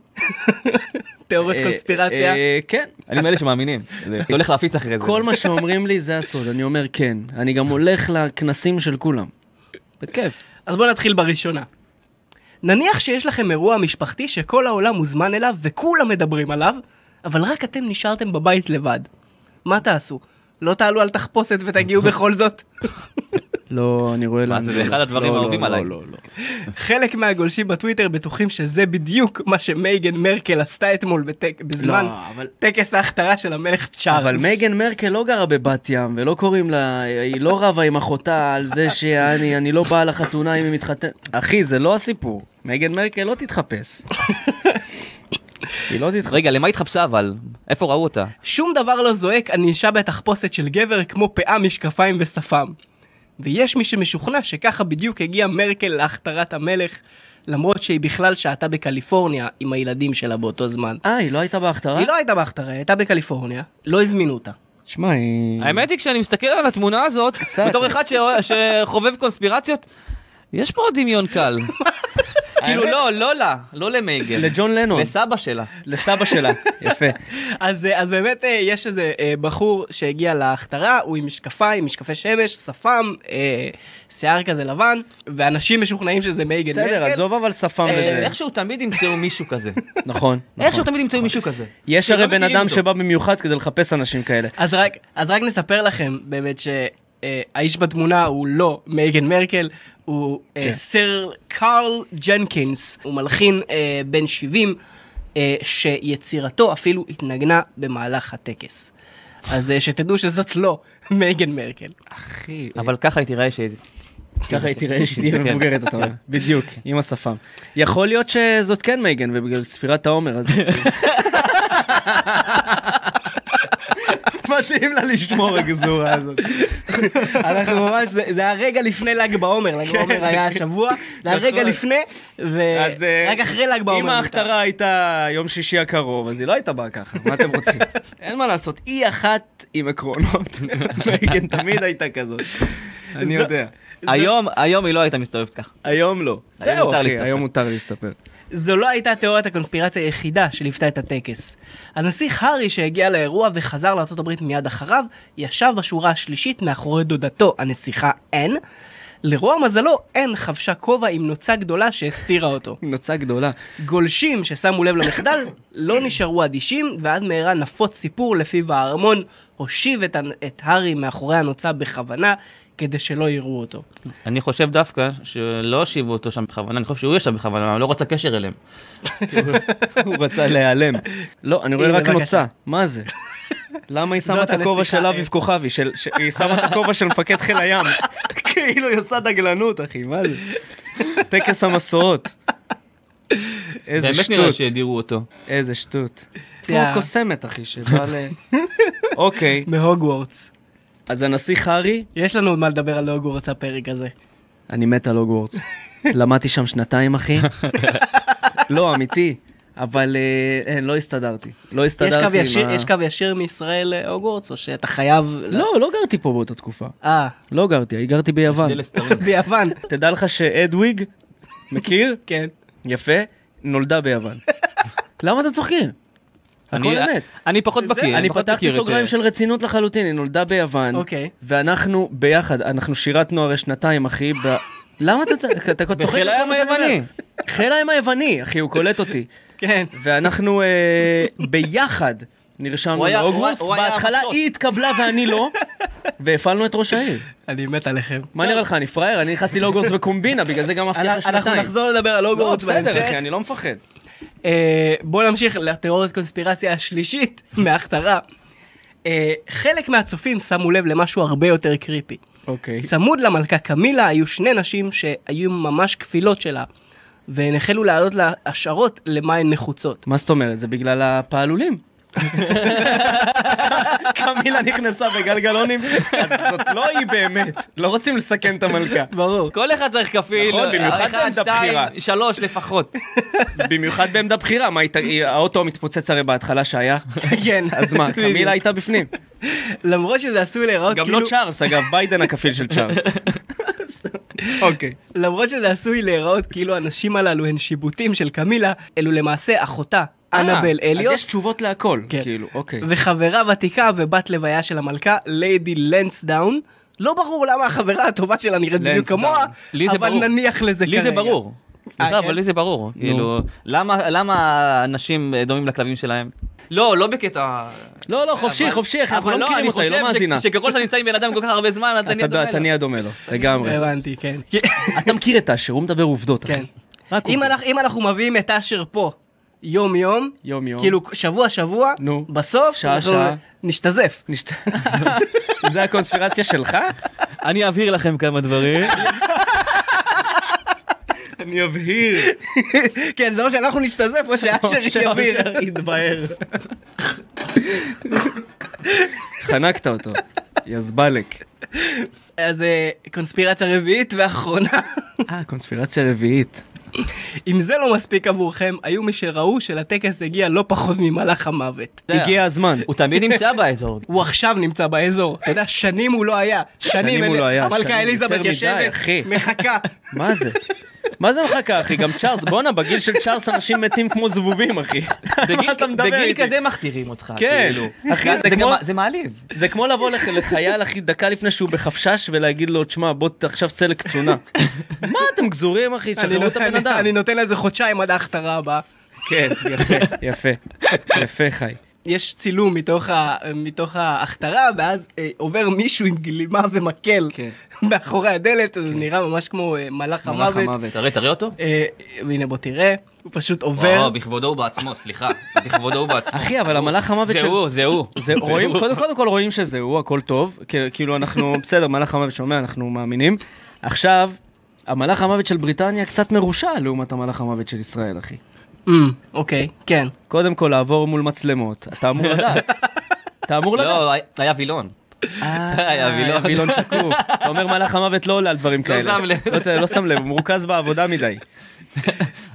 [SPEAKER 2] תיאוריות
[SPEAKER 1] אה,
[SPEAKER 2] קונספירציה?
[SPEAKER 1] אה, כן.
[SPEAKER 3] אני מאלה שמאמינים. אתה הולך להפיץ אחרי זה.
[SPEAKER 1] כל מה שאומרים לי זה הסוד, אני אומר כן. אני גם הולך לכנסים של כולם. בכיף.
[SPEAKER 2] אז בואו נתחיל בראשונה. נניח שיש לכם אירוע משפחתי שכל העולם מוזמן אליו וכולם מדברים עליו, אבל רק אתם נשארתם בבית לבד. מה תעשו? לא תעלו על תחפושת
[SPEAKER 1] *laughs*
[SPEAKER 2] ותגיעו בכל זאת?
[SPEAKER 1] לא, אני רואה... לאן
[SPEAKER 3] זה,
[SPEAKER 1] זה
[SPEAKER 3] זה אחד
[SPEAKER 1] הולך.
[SPEAKER 3] הדברים
[SPEAKER 1] לא, לא,
[SPEAKER 3] האהובים
[SPEAKER 1] לא,
[SPEAKER 3] עליי.
[SPEAKER 1] לא, לא.
[SPEAKER 2] חלק מהגולשים בטוויטר בטוחים שזה בדיוק מה שמייגן מרקל עשתה אתמול בטק... בזמן
[SPEAKER 1] לא, אבל-
[SPEAKER 2] טקס ההכתרה של המלך צ'ארלס.
[SPEAKER 1] אבל מייגן מרקל לא גרה בבת ים, ולא קוראים לה... היא לא רבה עם אחותה על זה שאני אני לא באה לחתונה אם היא מתחתנת. אחי, זה לא הסיפור. מייגן מרקל לא תתחפש. היא לא תתחפש.
[SPEAKER 3] רגע, למה התחפשה אבל? איפה ראו אותה?
[SPEAKER 2] שום דבר לא זועק על נישה בתחפושת של גבר כמו פאה, משקפיים ושפם. ויש מי שמשוכנע שככה בדיוק הגיעה מרקל להכתרת המלך, למרות שהיא בכלל שהתה בקליפורניה עם הילדים שלה באותו זמן.
[SPEAKER 1] אה, היא לא הייתה בהכתרה?
[SPEAKER 2] היא לא הייתה בהכתרה, היא הייתה בקליפורניה, לא הזמינו אותה.
[SPEAKER 1] שמע, היא...
[SPEAKER 3] האמת היא כשאני מסתכל על התמונה הזאת, בתור אחד שאוה- שחובב קונספירציות, יש פה דמיון
[SPEAKER 1] *laughs*
[SPEAKER 3] קל. כאילו לא, לא לה, לא למייגל.
[SPEAKER 1] לג'ון לנון. אה,
[SPEAKER 3] לסבא שלה.
[SPEAKER 1] לסבא שלה. יפה.
[SPEAKER 2] אז, אה, אז באמת אה, יש איזה אה, בחור שהגיע להכתרה, הוא עם משקפיים, משקפי שמש, שפם, אה, שיער כזה לבן, ואנשים משוכנעים שזה מייגן
[SPEAKER 1] בסדר,
[SPEAKER 2] מרקל.
[SPEAKER 1] עזוב אבל שפם
[SPEAKER 3] אה,
[SPEAKER 1] וזה.
[SPEAKER 3] איכשהו תמיד ימצאו מישהו כזה.
[SPEAKER 1] נכון.
[SPEAKER 3] איכשהו תמיד ימצאו מישהו כזה.
[SPEAKER 1] יש
[SPEAKER 3] שלא
[SPEAKER 1] הרי בן
[SPEAKER 3] מכירים
[SPEAKER 1] אדם
[SPEAKER 3] אותו.
[SPEAKER 1] שבא במיוחד כדי לחפש אנשים *laughs* כאלה.
[SPEAKER 2] אז רק, אה, אז רק נספר לכם באמת שהאיש בתמונה הוא לא מייגן מרקל, הוא אה,
[SPEAKER 1] כן.
[SPEAKER 2] סר קארל ג'נקינס, הוא מלחין אה, בן 70, אה, שיצירתו אפילו התנגנה במהלך הטקס. אז אה, שתדעו שזאת לא מייגן
[SPEAKER 1] *laughs*
[SPEAKER 2] מרקל.
[SPEAKER 1] אחי,
[SPEAKER 3] אבל ככה היא תיראה שהיא...
[SPEAKER 1] ככה היא תראה שתהיה מבוגרת, אתה *laughs* אומר. בדיוק, עם השפם. יכול להיות שזאת כן מייגן, ובגלל ספירת העומר, *laughs* אז... מתאים לה לשמור הגזורה הזאת.
[SPEAKER 2] אנחנו ממש, זה זה היה רגע לפני ל"ג בעומר, ל"ג בעומר היה השבוע, זה היה רגע
[SPEAKER 1] כן. נכון.
[SPEAKER 2] לפני,
[SPEAKER 1] אז, אה,
[SPEAKER 2] ורק אחרי ל"ג בעומר.
[SPEAKER 1] אם ההכתרה הייתה יום שישי הקרוב, אז היא לא הייתה באה ככה, מה אתם *laughs* רוצים? אין מה לעשות, היא אחת עם *laughs* עקרונות. מייגן תמיד הייתה כזאת. אני
[SPEAKER 2] זו-
[SPEAKER 1] יודע.
[SPEAKER 3] היום, היום היא לא הייתה מסתובבת ככה.
[SPEAKER 1] היום לא. זהו,
[SPEAKER 3] מותר
[SPEAKER 1] אחי,
[SPEAKER 3] להסתפר.
[SPEAKER 1] היום מותר להסתפר.
[SPEAKER 2] זו לא הייתה תיאוריית הקונספירציה היחידה שליוותה את הטקס. הנסיך הארי שהגיע לאירוע וחזר לארה"ב מיד אחריו, ישב בשורה השלישית מאחורי דודתו, הנסיכה אן. לרוע מזלו, אן חבשה כובע עם נוצה גדולה שהסתירה אותו.
[SPEAKER 1] נוצה גדולה. *laughs*
[SPEAKER 2] גולשים ששמו לב למחדל לא נשארו אדישים, ועד מהרה נפוץ סיפור לפיו הארמון הושיב את, הנ- את הארי מאחורי הנוצה בכוונה, כדי שלא יראו אותו.
[SPEAKER 3] אני חושב דווקא שלא הושיבו אותו שם בכוונה, אני חושב שהוא ישב בכוונה, הוא לא רצה קשר אליהם.
[SPEAKER 1] הוא רצה להיעלם. לא, אני רואה
[SPEAKER 2] הנה,
[SPEAKER 1] רק
[SPEAKER 2] בבקשה.
[SPEAKER 1] נוצה, מה זה? למה היא שמה
[SPEAKER 2] זאת
[SPEAKER 1] את הכובע
[SPEAKER 2] הנסיכה,
[SPEAKER 1] של
[SPEAKER 2] אה.
[SPEAKER 1] אביב כוכבי? של- ש- היא שמה את הכובע של מפקד חיל הים. *laughs* כאילו היא עושה דגלנות, אחי, מה זה? טקס המסורות. איזה
[SPEAKER 3] באמת נראה
[SPEAKER 1] שטות,
[SPEAKER 3] שהדירו אותו.
[SPEAKER 1] איזה שטות. כמו
[SPEAKER 2] יא.
[SPEAKER 1] קוסמת, אחי, שבא ל...
[SPEAKER 2] *laughs*
[SPEAKER 1] אוקיי,
[SPEAKER 2] מהוגוורטס.
[SPEAKER 1] אז הנסיך הארי,
[SPEAKER 2] יש לנו עוד מה לדבר על הוגוורטס הפרק הזה.
[SPEAKER 1] אני מת על
[SPEAKER 2] *laughs*
[SPEAKER 1] הוגוורטס. למדתי שם שנתיים, אחי. לא, אמיתי. אבל אה, אין, לא הסתדרתי. לא
[SPEAKER 2] יש
[SPEAKER 1] הסתדרתי
[SPEAKER 2] קו, ישיר,
[SPEAKER 1] עם ה-
[SPEAKER 2] יש קו ישיר מישראל להוגוורטס, או שאתה חייב...
[SPEAKER 1] לא, לא גרתי פה באותה תקופה.
[SPEAKER 2] *laughs* אה,
[SPEAKER 1] לא גרתי, גרתי ביוון.
[SPEAKER 3] ליל הסתרים.
[SPEAKER 2] ביוון.
[SPEAKER 1] תדע לך שאדוויג, מכיר?
[SPEAKER 2] *laughs* כן.
[SPEAKER 1] יפה, נולדה
[SPEAKER 2] *laughs*
[SPEAKER 1] ביוון. למה אתם צוחקים? הכל
[SPEAKER 3] אני-
[SPEAKER 1] אמת.
[SPEAKER 3] אני פחות בקיא,
[SPEAKER 1] אני
[SPEAKER 3] פחות
[SPEAKER 1] פתחתי
[SPEAKER 3] מכיר את-
[SPEAKER 1] סוגריים של רצינות לחלוטין, היא נולדה ביוון.
[SPEAKER 2] לא אוקיי.
[SPEAKER 1] ואנחנו ביחד, אנחנו שירתנו הרי שנתיים, אחי, ב... למה אתה צוחק? אתה צוחק?
[SPEAKER 3] בחיל
[SPEAKER 1] על כל
[SPEAKER 3] הים
[SPEAKER 1] מה שאני אומר?
[SPEAKER 3] היווני.
[SPEAKER 1] חיל הים היווני, אחי, הוא קולט אותי.
[SPEAKER 2] כן.
[SPEAKER 1] ואנחנו אה, ביחד נרשמנו
[SPEAKER 3] הוא היה-
[SPEAKER 1] להוגוורטס,
[SPEAKER 3] הוא היה- הוא היה
[SPEAKER 1] בהתחלה
[SPEAKER 3] המסוק.
[SPEAKER 1] היא התקבלה ואני לא, והפעלנו את ראש העיר.
[SPEAKER 2] אני מת עליכם.
[SPEAKER 1] מה נראה לך, אני פראייר? אני נכנסתי להוגוורטס בקומבינה, בגלל זה גם מבטיח
[SPEAKER 2] אנחנו
[SPEAKER 1] שנתיים.
[SPEAKER 2] אנחנו נחזור לדבר על
[SPEAKER 1] לא,
[SPEAKER 2] הוגוורטס
[SPEAKER 1] בסדר,
[SPEAKER 2] בהמשך.
[SPEAKER 1] אחי, אני לא מפחד.
[SPEAKER 2] אה, בואו נמשיך לתיאוריית קונספירציה השלישית *laughs* מההכתרה. אה, חלק מהצופים שמו לב למשהו הרבה יותר קריפי.
[SPEAKER 1] אוקיי.
[SPEAKER 2] צמוד למלכה קמילה היו שני נשים שהיו ממש כפילות שלה, והן החלו להעלות לה השערות למה הן נחוצות.
[SPEAKER 1] מה זאת אומרת? זה בגלל
[SPEAKER 2] *laughs*
[SPEAKER 1] הפעלולים. קמילה נכנסה בגלגלונים, אז זאת לא היא באמת. לא רוצים לסכן את המלכה.
[SPEAKER 2] ברור.
[SPEAKER 3] כל אחד צריך כפיל,
[SPEAKER 1] נכון, במיוחד
[SPEAKER 3] אחד,
[SPEAKER 1] בעמדה
[SPEAKER 3] שתיים,
[SPEAKER 1] בכירה.
[SPEAKER 3] *laughs* שלוש לפחות.
[SPEAKER 1] במיוחד בעמדה בכירה, מה, היא ת- היא- האוטו מתפוצץ הרי בהתחלה שהיה.
[SPEAKER 2] כן.
[SPEAKER 1] אז מה,
[SPEAKER 2] בדיוק.
[SPEAKER 1] קמילה הייתה בפנים.
[SPEAKER 2] למרות שזה עשוי להיראות
[SPEAKER 1] גם
[SPEAKER 2] כאילו...
[SPEAKER 1] לא צ'ארלס, אגב, ביידן הכפיל של צ'ארלס. *laughs* אוקיי.
[SPEAKER 2] למרות שזה עשוי להיראות כאילו הנשים הללו הן שיבוטים של קמילה, אלו למעשה אחותה, אנבל
[SPEAKER 1] אה,
[SPEAKER 2] אליוט.
[SPEAKER 1] אז יש תשובות להכל,
[SPEAKER 2] כן.
[SPEAKER 1] כאילו, אוקיי.
[SPEAKER 2] וחברה ותיקה ובת לוויה של המלכה, ליידי לנסדאון. לא ברור למה החברה הטובה שלה נראית בדיוק
[SPEAKER 1] לנסדאון.
[SPEAKER 2] כמוה,
[SPEAKER 3] לי זה
[SPEAKER 2] אבל
[SPEAKER 3] ברור.
[SPEAKER 2] נניח לזה כרגע.
[SPEAKER 3] לי זה ברור. סליחה,
[SPEAKER 2] כן?
[SPEAKER 3] אבל לי זה ברור. כאילו, למה למה אנשים דומים לכלבים שלהם? לא, לא בקטע...
[SPEAKER 1] לא, לא, חופשי,
[SPEAKER 3] אבל-
[SPEAKER 1] חופשי, אחי, אנחנו
[SPEAKER 3] אבל
[SPEAKER 1] לא מכירים אותה, היא לא
[SPEAKER 3] אני חושב ש-
[SPEAKER 1] מאזינה.
[SPEAKER 3] שככל שאתה נמצא עם בן אדם כל כך הרבה זמן, אתה נהיה
[SPEAKER 1] אתה-
[SPEAKER 3] דומה
[SPEAKER 1] אתה
[SPEAKER 3] לו.
[SPEAKER 1] נהיה דומה לו, לגמרי.
[SPEAKER 2] הבנתי, כן.
[SPEAKER 1] אתה מכיר את אשר, הוא מדבר עובדות, אחי.
[SPEAKER 2] כן.
[SPEAKER 1] רק
[SPEAKER 2] אם
[SPEAKER 1] עובדות.
[SPEAKER 2] אנחנו- אם אנחנו מביאים את אשר פה יום-יום,
[SPEAKER 1] יום-יום.
[SPEAKER 2] כאילו שבוע-שבוע,
[SPEAKER 1] נו.
[SPEAKER 2] בסוף,
[SPEAKER 1] שעה,
[SPEAKER 2] אנחנו
[SPEAKER 1] שעה.
[SPEAKER 2] נשתזף.
[SPEAKER 1] נשת... *laughs* זה הקונספירציה שלך?
[SPEAKER 3] אני אבהיר לכם כמה *laughs* דברים.
[SPEAKER 1] אני אבהיר.
[SPEAKER 2] *laughs* כן, זה או שאנחנו נשתזף
[SPEAKER 1] *laughs*
[SPEAKER 2] או שאשר יבהיר.
[SPEAKER 1] יתבהר. חנקת אותו, יזבלק.
[SPEAKER 2] אז אה, קונספירציה רביעית ואחרונה. *laughs*
[SPEAKER 1] אה, קונספירציה רביעית.
[SPEAKER 2] אם זה לא מספיק עבורכם, היו מי שראו שלטקס הגיע לא פחות ממלאך המוות.
[SPEAKER 1] הגיע הזמן.
[SPEAKER 3] הוא תמיד נמצא *laughs* באזור.
[SPEAKER 2] הוא עכשיו נמצא באזור, אתה יודע, שנים הוא לא היה.
[SPEAKER 1] שנים הוא
[SPEAKER 2] אל-
[SPEAKER 1] לא היה, שנים
[SPEAKER 2] המלכה אליזבת
[SPEAKER 1] יותר מדי,
[SPEAKER 2] יושבת,
[SPEAKER 1] אחי. *laughs*
[SPEAKER 2] מחכה.
[SPEAKER 1] מה זה? מה זה מחכה, אחי? גם צ'ארלס, בואנה, בגיל של צ'ארלס אנשים מתים כמו זבובים, אחי. מה אתה מדבר
[SPEAKER 3] בגיל
[SPEAKER 1] איתי?
[SPEAKER 3] כזה מכתירים אותך.
[SPEAKER 1] כן.
[SPEAKER 3] *laughs* כאילו.
[SPEAKER 1] אחי,
[SPEAKER 3] זה
[SPEAKER 1] זה
[SPEAKER 3] גם-
[SPEAKER 1] כמו-
[SPEAKER 3] זה מעליב.
[SPEAKER 1] זה כמו לבוא לח- לחייל, אחי, דקה לפני שהוא בחפשש, ולהגיד לו, תשמע, בוא ת- עכשיו צא לקצונה. מה אתם גזורים, אחי?
[SPEAKER 2] אני
[SPEAKER 1] תשחררו את הבן
[SPEAKER 2] נותן-
[SPEAKER 1] אדם.
[SPEAKER 2] אני נותן לזה חודשיים עד ההכתרה הבאה.
[SPEAKER 1] כן, יפה, יפה, יפה חי.
[SPEAKER 2] יש צילום מתוך, ה, מתוך ההכתרה, ואז אה, עובר מישהו עם גלימה ומקל
[SPEAKER 1] כן.
[SPEAKER 2] *laughs* מאחורי הדלת, זה נראה ממש כמו אה,
[SPEAKER 1] מלאך
[SPEAKER 2] מלאך המוות.
[SPEAKER 1] המוות.
[SPEAKER 3] תראה, תראה אותו.
[SPEAKER 2] אה, הנה בוא תראה, הוא פשוט עובר.
[SPEAKER 3] וואו, בכבודו ובעצמו, סליחה. בכבודו ובעצמו.
[SPEAKER 1] אחי, אבל המלאך המוות
[SPEAKER 3] זה
[SPEAKER 1] של...
[SPEAKER 3] הוא, זה הוא.
[SPEAKER 1] זה רואים, קודם, קודם כל רואים שזה הוא, הכל טוב, כ- כאילו אנחנו, בסדר, מלאך המוות שומע, אנחנו מאמינים. עכשיו, המלאך המוות של בריטניה קצת מרושע לעומת המלאך המוות של ישראל, אחי.
[SPEAKER 2] אמ, אוקיי, כן.
[SPEAKER 1] קודם כל, לעבור מול מצלמות, אתה אמור לדעת. אתה אמור לדעת.
[SPEAKER 3] לא, היה וילון. אה, היה וילון.
[SPEAKER 1] אה, וילון שקוף. אתה אומר מלאך המוות לא עולה על דברים כאלה.
[SPEAKER 3] שם לב.
[SPEAKER 1] לא צ- לא שם לב, הוא מרוכז בעבודה מדי.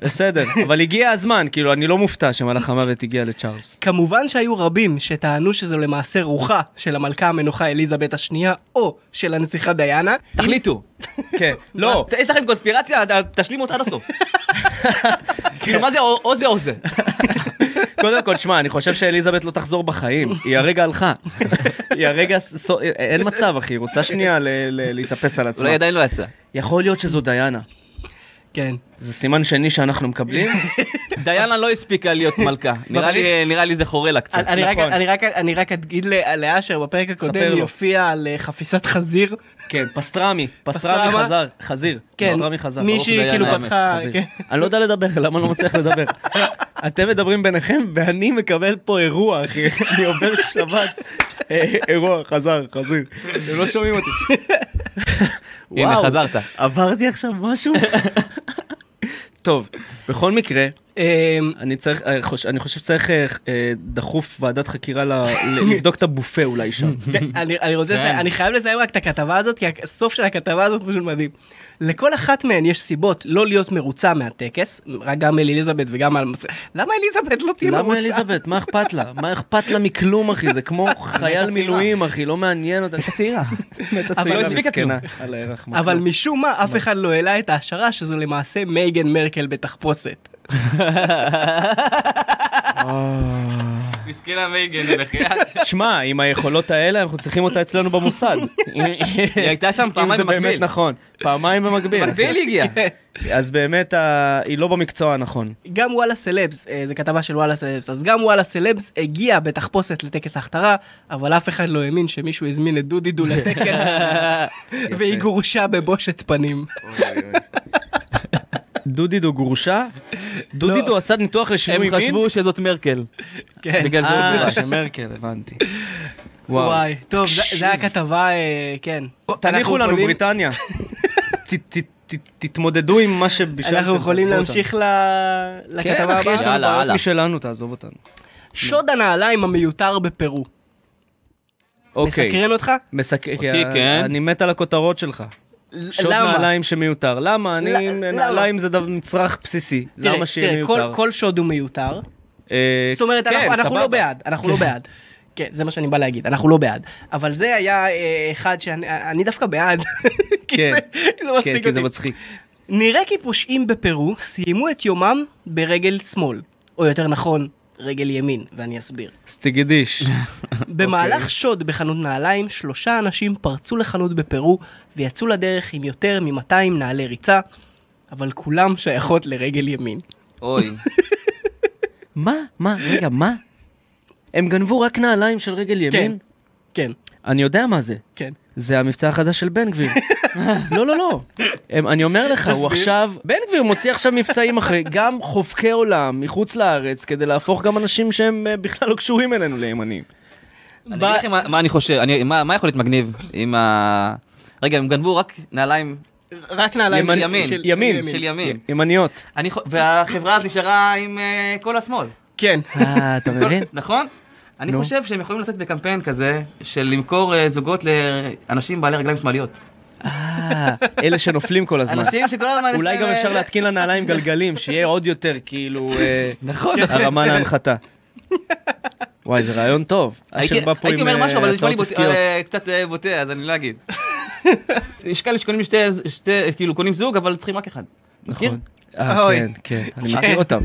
[SPEAKER 1] בסדר, אבל הגיע הזמן, כאילו, אני לא מופתע שמלאך המוות הגיע לצ'ארלס.
[SPEAKER 2] כמובן שהיו רבים שטענו שזו למעשה רוחה של המלכה המנוחה אליזבת השנייה, או של הנסיכה דיאנה.
[SPEAKER 3] תחליטו.
[SPEAKER 1] כן, לא,
[SPEAKER 3] לא, יש לכם קונספירציה, ת- תשלימו אותה עד *laughs* הסוף. כאילו, מה זה או או זה או זה?
[SPEAKER 1] קודם כל, שמע, אני חושב שאליזבת לא תחזור בחיים, היא הרגע הלכה. היא הרגע, ס- ס- אין מצב, אחי, היא רוצה שנייה ל- ל- להתאפס על עצמה.
[SPEAKER 3] אולי עדיין לא יצא.
[SPEAKER 1] יכול להיות שזו דיאנה.
[SPEAKER 2] כן.
[SPEAKER 1] זה סימן שני שאנחנו מקבלים?
[SPEAKER 3] דיאנה לא הספיקה להיות *laughs* מלכה. נראה לי- נראה לי זה חורה לה קצת.
[SPEAKER 2] אני- אני רק-
[SPEAKER 1] נכון.
[SPEAKER 2] אני רק- אני רק אגיד ל- לאשר, בפרק
[SPEAKER 1] ספר
[SPEAKER 2] הקודם
[SPEAKER 1] לו.
[SPEAKER 2] היא הופיעה על אה, חפיסת חזיר.
[SPEAKER 1] כן, פסטרמי, פסטרמי
[SPEAKER 2] פסטרמה?
[SPEAKER 1] חזר, חזיר,
[SPEAKER 2] כן,
[SPEAKER 1] פסטרמי חזר.
[SPEAKER 2] מישהי
[SPEAKER 1] ברוך
[SPEAKER 2] כאילו
[SPEAKER 1] דיין,
[SPEAKER 2] פתחה,
[SPEAKER 1] האמת, חזיר.
[SPEAKER 2] כן.
[SPEAKER 1] אני לא יודע לדבר, למה אני לא מצליח
[SPEAKER 2] *laughs*
[SPEAKER 1] לדבר? אתם מדברים ביניכם ואני מקבל פה אירוע, אחי, אני עובר שבץ. אה, אירוע, חזר, חזיר. אתם לא שומעים אותי.
[SPEAKER 3] הנה,
[SPEAKER 1] וואו.
[SPEAKER 3] חזרת.
[SPEAKER 1] עברתי עכשיו משהו? *laughs* טוב, בכל מקרה,
[SPEAKER 2] אמ,
[SPEAKER 1] *laughs* אני צריך, אה, חוש- אני חושב שצריך אה, אה, דחוף ועדת חקירה ל- ל- לבדוק את הבופה אולי שם.
[SPEAKER 2] ת- אני אני רוצה
[SPEAKER 3] כן.
[SPEAKER 2] לסיים, אני חייב לסיים רק את הכתבה הזאת, כי הסוף של הכתבה הזאת פשוט מדהים. לכל אחת מהן יש סיבות לא להיות מרוצה מהטקס, רק גם אל אליזבת וגם על... המס- למה אליזבת לא
[SPEAKER 3] כאילו,
[SPEAKER 2] תהיה מרוצה?
[SPEAKER 1] למה אליזבת? מה אכפת לה? מה אכפת לה מכלום, אחי? זה
[SPEAKER 3] *laughs*
[SPEAKER 1] כמו חייל מילואים, אחי, לא מעניין אותה. צעירה.
[SPEAKER 2] אבל
[SPEAKER 1] אבל
[SPEAKER 2] לא
[SPEAKER 1] לא
[SPEAKER 2] הספיקה
[SPEAKER 1] הספיקה
[SPEAKER 2] כלום. אבל משום מה, אף אחד לא העלה את ההשערה שזו למעשה מייגן מרקל בתחפושת.
[SPEAKER 3] מסכנה מייגן, בחייאת.
[SPEAKER 1] שמע, עם היכולות האלה, אנחנו צריכים אותה אצלנו במוסד. אם-
[SPEAKER 3] *laughs* היא הייתה שם
[SPEAKER 1] אם
[SPEAKER 3] פעמיים
[SPEAKER 1] זה
[SPEAKER 3] במקביל.
[SPEAKER 1] באמת נכון. פעמיים במקביל. אחי.
[SPEAKER 3] במקביל היא *laughs* הגיעה.
[SPEAKER 1] אז באמת, ה- היא לא במקצוע הנכון.
[SPEAKER 2] גם וואלה סלבס, אה, זו כתבה של וואלה סלבס, אז גם וואלה סלבס הגיע בתחפושת לטקס ההכתרה, אבל אף אחד לא האמין שמישהו הזמין את דודידו
[SPEAKER 1] *laughs*
[SPEAKER 2] לטקס, והיא גורשה בבושת פנים.
[SPEAKER 1] דודידו גורשה? דודידו עשה ניתוח
[SPEAKER 3] לא. הם
[SPEAKER 1] לשינוי מין?
[SPEAKER 3] חשבו שזאת מרקל.
[SPEAKER 2] כן.
[SPEAKER 3] בגלל זה הוא
[SPEAKER 1] אה,
[SPEAKER 3] גורש.
[SPEAKER 1] שמרקל, הבנתי.
[SPEAKER 2] וואי, טוב, זה- זה היה כתבה, אה, כן.
[SPEAKER 1] תניחו
[SPEAKER 2] אנחנו
[SPEAKER 1] לנו *laughs*
[SPEAKER 2] יכולים-
[SPEAKER 1] בריטניה. ת- ת- ת- תתמודדו עם מה שבשלתם.
[SPEAKER 2] אנחנו יכולים
[SPEAKER 1] תעזבו
[SPEAKER 2] להמשיך ל-
[SPEAKER 1] אותנו. כן,
[SPEAKER 2] לכתבה
[SPEAKER 1] אחי, יש לנו
[SPEAKER 2] הבאה.
[SPEAKER 3] יאללה,
[SPEAKER 1] בעיות
[SPEAKER 3] הלאה.
[SPEAKER 1] משלנו, תעזוב אותנו.
[SPEAKER 2] שוד הנעליים המיותר בפרו.
[SPEAKER 1] אוקיי.
[SPEAKER 2] מסקרן אותך?
[SPEAKER 1] מסקרן.
[SPEAKER 3] אותי, כן.
[SPEAKER 1] אני מת על הכותרות שלך. שוד
[SPEAKER 2] למה?
[SPEAKER 1] נעליים שמיותר. למה?
[SPEAKER 2] ל-
[SPEAKER 1] אני...
[SPEAKER 2] למה?
[SPEAKER 1] נעליים זה דבר- מצרך בסיסי.
[SPEAKER 2] תראה,
[SPEAKER 1] למה שיהיה
[SPEAKER 2] תראה, כל-
[SPEAKER 1] מיותר?
[SPEAKER 2] כל שוד הוא מיותר.
[SPEAKER 1] אה,
[SPEAKER 2] זאת אומרת,
[SPEAKER 1] כן,
[SPEAKER 2] אנחנו- אנחנו
[SPEAKER 1] סבבה.
[SPEAKER 2] לא בעד, אנחנו לא בעד. כן, זה מה שאני בא להגיד, אנחנו לא בעד. אבל זה היה אה, אחד שאני אני דווקא בעד. *laughs* כי
[SPEAKER 1] כן.
[SPEAKER 2] זה- זה
[SPEAKER 1] כן,
[SPEAKER 2] מצחיק
[SPEAKER 1] כי זה
[SPEAKER 2] אותי.
[SPEAKER 1] מצחיק.
[SPEAKER 2] נראה כי פושעים בפרו סיימו את יומם ברגל שמאל, או יותר נכון, רגל ימין, ואני אסביר.
[SPEAKER 1] אוקיי. סטיגדיש.
[SPEAKER 2] במהלך שוד בחנות נעליים, שלושה אנשים פרצו לחנות בפרו ויצאו לדרך עם יותר מ-200 נעלי ריצה, אבל כולם שייכות לרגל ימין.
[SPEAKER 3] *laughs* אוי.
[SPEAKER 1] *laughs* מה? מה? רגע, מה? הם גנבו רק נעליים של רגל ימין?
[SPEAKER 2] כן,
[SPEAKER 1] אני יודע מה זה.
[SPEAKER 2] כן.
[SPEAKER 1] זה המבצע החדש של בן
[SPEAKER 3] *laughs*
[SPEAKER 1] גביר. לא, לא, לא. הם, אני אומר לך, הוא עכשיו... בן גביר מוציא עכשיו מבצעים אחרי גם חובקי עולם מחוץ לארץ, כדי להפוך גם אנשים שהם אה, בכלל לא קשורים אלינו לימנים.
[SPEAKER 3] אני אגיד לכם מה- מה אני חושב, אני- מה מה יכול להיות מגניב עם ה... רגע, הם גנבו רק נעליים
[SPEAKER 2] רק נעליים
[SPEAKER 3] ימין,
[SPEAKER 2] של
[SPEAKER 3] ימין,
[SPEAKER 2] של-
[SPEAKER 1] ימין.
[SPEAKER 3] של ימין.
[SPEAKER 1] ימניות.
[SPEAKER 3] אני חו- והחברה אז נשארה עם אה, כל השמאל.
[SPEAKER 2] כן.
[SPEAKER 1] אה, אתה מבין?
[SPEAKER 3] *laughs* נכון? אני
[SPEAKER 1] נו.
[SPEAKER 3] חושב שהם יכולים לצאת בקמפיין כזה של למכור אה, זוגות לאנשים בעלי רגליים שמאליות.
[SPEAKER 1] אה, *laughs* אלה שנופלים כל הזמן.
[SPEAKER 3] אנשים שכל הזמן... יש
[SPEAKER 1] אולי
[SPEAKER 3] להם,
[SPEAKER 1] גם
[SPEAKER 3] אה,
[SPEAKER 1] אפשר
[SPEAKER 3] זה-
[SPEAKER 1] להתקין לנעליים גלגלים, שיהיה עוד יותר כאילו אה,
[SPEAKER 3] *laughs* נכון, נכון.
[SPEAKER 1] הרמה להנחתה. וואי, זה רעיון טוב.
[SPEAKER 3] הייתי
[SPEAKER 1] אשר בא פה
[SPEAKER 3] הייתי
[SPEAKER 1] עם
[SPEAKER 3] אומר
[SPEAKER 1] אה,
[SPEAKER 3] משהו, אבל זה נשמע לי
[SPEAKER 1] הצעות
[SPEAKER 3] בוט-
[SPEAKER 1] עסקיות.
[SPEAKER 3] אה, קצת אה, בוטה, אז אני לא אגיד. *laughs* יש כאלה שקונים שתי, שתי- כאילו קונים זוג, אבל צריכים רק אחד. מכיר?
[SPEAKER 1] נכון. אה,
[SPEAKER 2] אוי.
[SPEAKER 1] כן, *laughs* כן, אני מכיר אותם.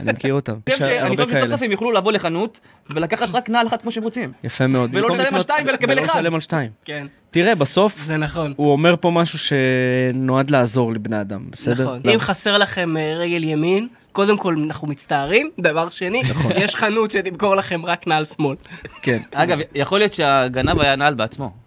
[SPEAKER 1] אני מכיר אותם.
[SPEAKER 3] *laughs*
[SPEAKER 1] יש
[SPEAKER 3] אני חושב שאני
[SPEAKER 1] הרבה
[SPEAKER 3] חושב שסוף
[SPEAKER 1] כאלה.
[SPEAKER 3] סוף הם יוכלו לבוא לחנות ולקחת רק נעל אחת כמו שהם רוצים.
[SPEAKER 1] יפה מאוד.
[SPEAKER 3] ולא
[SPEAKER 1] במקום
[SPEAKER 3] לשלם על
[SPEAKER 1] לקנות-
[SPEAKER 3] שתיים ולקבל
[SPEAKER 1] ולא
[SPEAKER 3] אחד.
[SPEAKER 1] לשלם על שתיים.
[SPEAKER 2] כן,
[SPEAKER 1] תראה, בסוף
[SPEAKER 2] זה נכון.
[SPEAKER 1] הוא אומר פה משהו שנועד לעזור לבני אדם, בסדר?
[SPEAKER 2] נכון.
[SPEAKER 1] לא.
[SPEAKER 2] אם חסר לכם אה, רגל ימין, קודם כל, אנחנו מצטערים, דבר שני,
[SPEAKER 1] נכון.
[SPEAKER 2] יש חנות שתמכור לכם רק נעל שמאל.
[SPEAKER 1] כן.
[SPEAKER 3] אגב, יכול להיות שהגנב היה נעל בעצמו.
[SPEAKER 1] *laughs*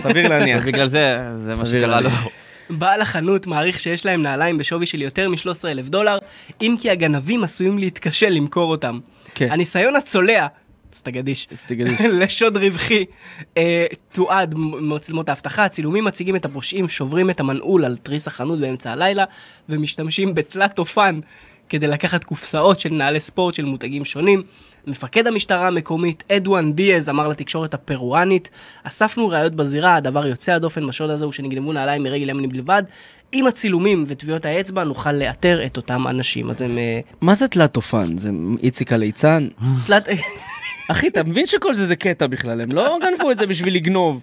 [SPEAKER 1] סביר להניח.
[SPEAKER 3] בגלל זה, זה מה
[SPEAKER 1] סביר
[SPEAKER 3] שקרה לו.
[SPEAKER 1] להניח.
[SPEAKER 2] בעל החנות מעריך שיש להם נעליים בשווי של יותר מ-13,000 דולר, אם כי הגנבים עשויים להתקשה למכור אותם.
[SPEAKER 1] כן.
[SPEAKER 2] הניסיון הצולע, סטגדיש,
[SPEAKER 1] *laughs* סטגדיש.
[SPEAKER 2] לשוד רווחי, אה, תועד מ- מצלמות האבטחה, הצילומים מציגים את הפושעים, שוברים את המנעול על תריס החנות באמצע הלילה, ומשתמשים בתלת אופן כדי לקחת קופסאות של נעלי ספורט של מותגים שונים. מפקד המשטרה המקומית, אדואן דיאז, אמר לתקשורת הפרואנית, אספנו ראיות בזירה, הדבר יוצא הדופן בשוד הזה הוא שנגנבו נעליים מרגל ימין בלבד. עם הצילומים וטביעות האצבע נוכל לאתר את אותם אנשים. אז הם... אה,
[SPEAKER 1] מה זה תלת אופן? זה איציק הליצן?
[SPEAKER 2] תלת... *laughs*
[SPEAKER 1] אחי, אתה מבין שכל זה זה קטע בכלל, הם לא גנבו את זה בשביל לגנוב.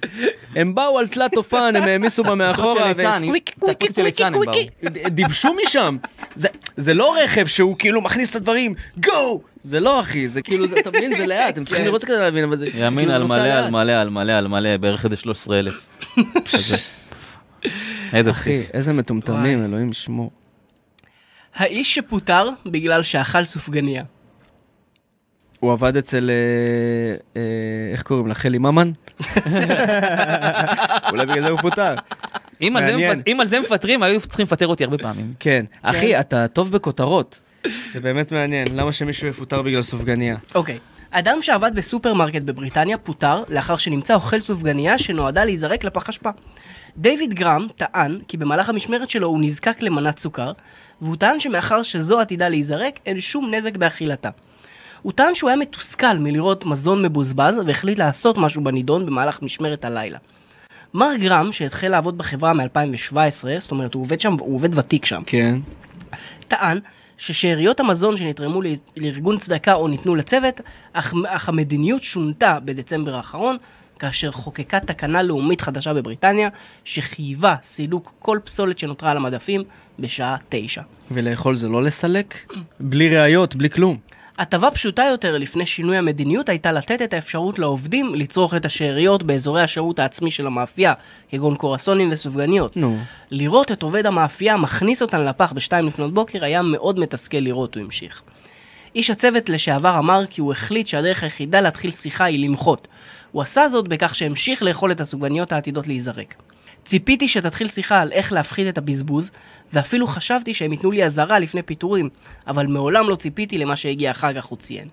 [SPEAKER 1] הם באו על תלת אופן, הם
[SPEAKER 3] *laughs*
[SPEAKER 1] העמיסו בה מאחורה,
[SPEAKER 3] של ליצן,
[SPEAKER 1] וסקוויקי,
[SPEAKER 3] תחפושת
[SPEAKER 1] קוויקי,
[SPEAKER 3] של
[SPEAKER 1] קוויקי,
[SPEAKER 3] ליצן הם
[SPEAKER 1] קוויקי, דיבשו משם. זה- זה לא רכב שהוא כאילו מכניס את הדברים, גו! זה לא, אחי, זה כאילו, זה- אתה מבין, זה לאט, הם צריכים לראות כדי להבין, אבל זה... כאילו
[SPEAKER 3] ימין כן. על
[SPEAKER 1] נוסע
[SPEAKER 3] מלא,
[SPEAKER 1] לאט.
[SPEAKER 3] על מלא, על מלא, על מלא, בערך איזה 13,000. כזה. איזה
[SPEAKER 1] אחי,
[SPEAKER 3] אחי.
[SPEAKER 1] איזה מטומטמים,
[SPEAKER 2] וואי.
[SPEAKER 1] אלוהים ישמור.
[SPEAKER 2] האיש שפוטר בגלל שאכל סופגניה.
[SPEAKER 1] הוא עבד אצל, אה, אה, איך קוראים לה, חלי
[SPEAKER 3] *laughs*
[SPEAKER 1] ממן? אולי בגלל זה הוא פוטר.
[SPEAKER 3] אם על זה
[SPEAKER 1] מעניין.
[SPEAKER 3] מפט- אם על זה מפטרים, היו צריכים לפטר אותי הרבה פעמים.
[SPEAKER 1] כן. אחי, אתה טוב בכותרות. זה באמת מעניין, למה שמישהו יפוטר בגלל סופגניה?
[SPEAKER 2] אוקיי. אדם שעבד בסופרמרקט בבריטניה פוטר לאחר שנמצא אוכל סופגניה שנועדה להיזרק לפח אשפה. דיוויד גראם טען כי במהלך המשמרת שלו הוא נזקק למנת סוכר, והוא טען שמאחר שזו עתידה להיזרק, אין שום נזק באכילתה. הוא טען שהוא היה מתוסכל מלראות מזון מבוזבז והחליט לעשות משהו בנידון במהלך משמרת הלילה. מר גראם, שהתחיל לעבוד בחברה מ-2017, זאת אומרת הוא עובד שם, הוא עובד ותיק שם,
[SPEAKER 1] כן.
[SPEAKER 2] טען ששאריות המזון שנתרמו ל- לארגון צדקה או ניתנו לצוות, אך, אך המדיניות שונתה בדצמבר האחרון, כאשר חוקקה תקנה לאומית חדשה בבריטניה, שחייבה סילוק כל פסולת שנותרה על המדפים בשעה תשע.
[SPEAKER 1] ולאכול זה לא לסלק? בלי ראיות, בלי כלום.
[SPEAKER 2] הטבה פשוטה יותר לפני שינוי המדיניות הייתה לתת את האפשרות לעובדים לצרוך את השאריות באזורי השירות העצמי של המאפייה, כגון קורסונים וסופגניות.
[SPEAKER 1] נו.
[SPEAKER 2] לראות את עובד המאפייה מכניס אותן לפח בשתיים לפנות בוקר היה מאוד מתסכל לראות, הוא המשיך. איש הצוות לשעבר אמר כי הוא החליט שהדרך היחידה להתחיל שיחה היא למחות. הוא עשה זאת בכך שהמשיך לאכול את הסופגניות העתידות להיזרק. ציפיתי שתתחיל שיחה על איך להפחית את הבזבוז, ואפילו חשבתי שהם ייתנו לי אזהרה לפני פיטורים, אבל מעולם לא ציפיתי למה שהגיע אחר כך, הוא ציין.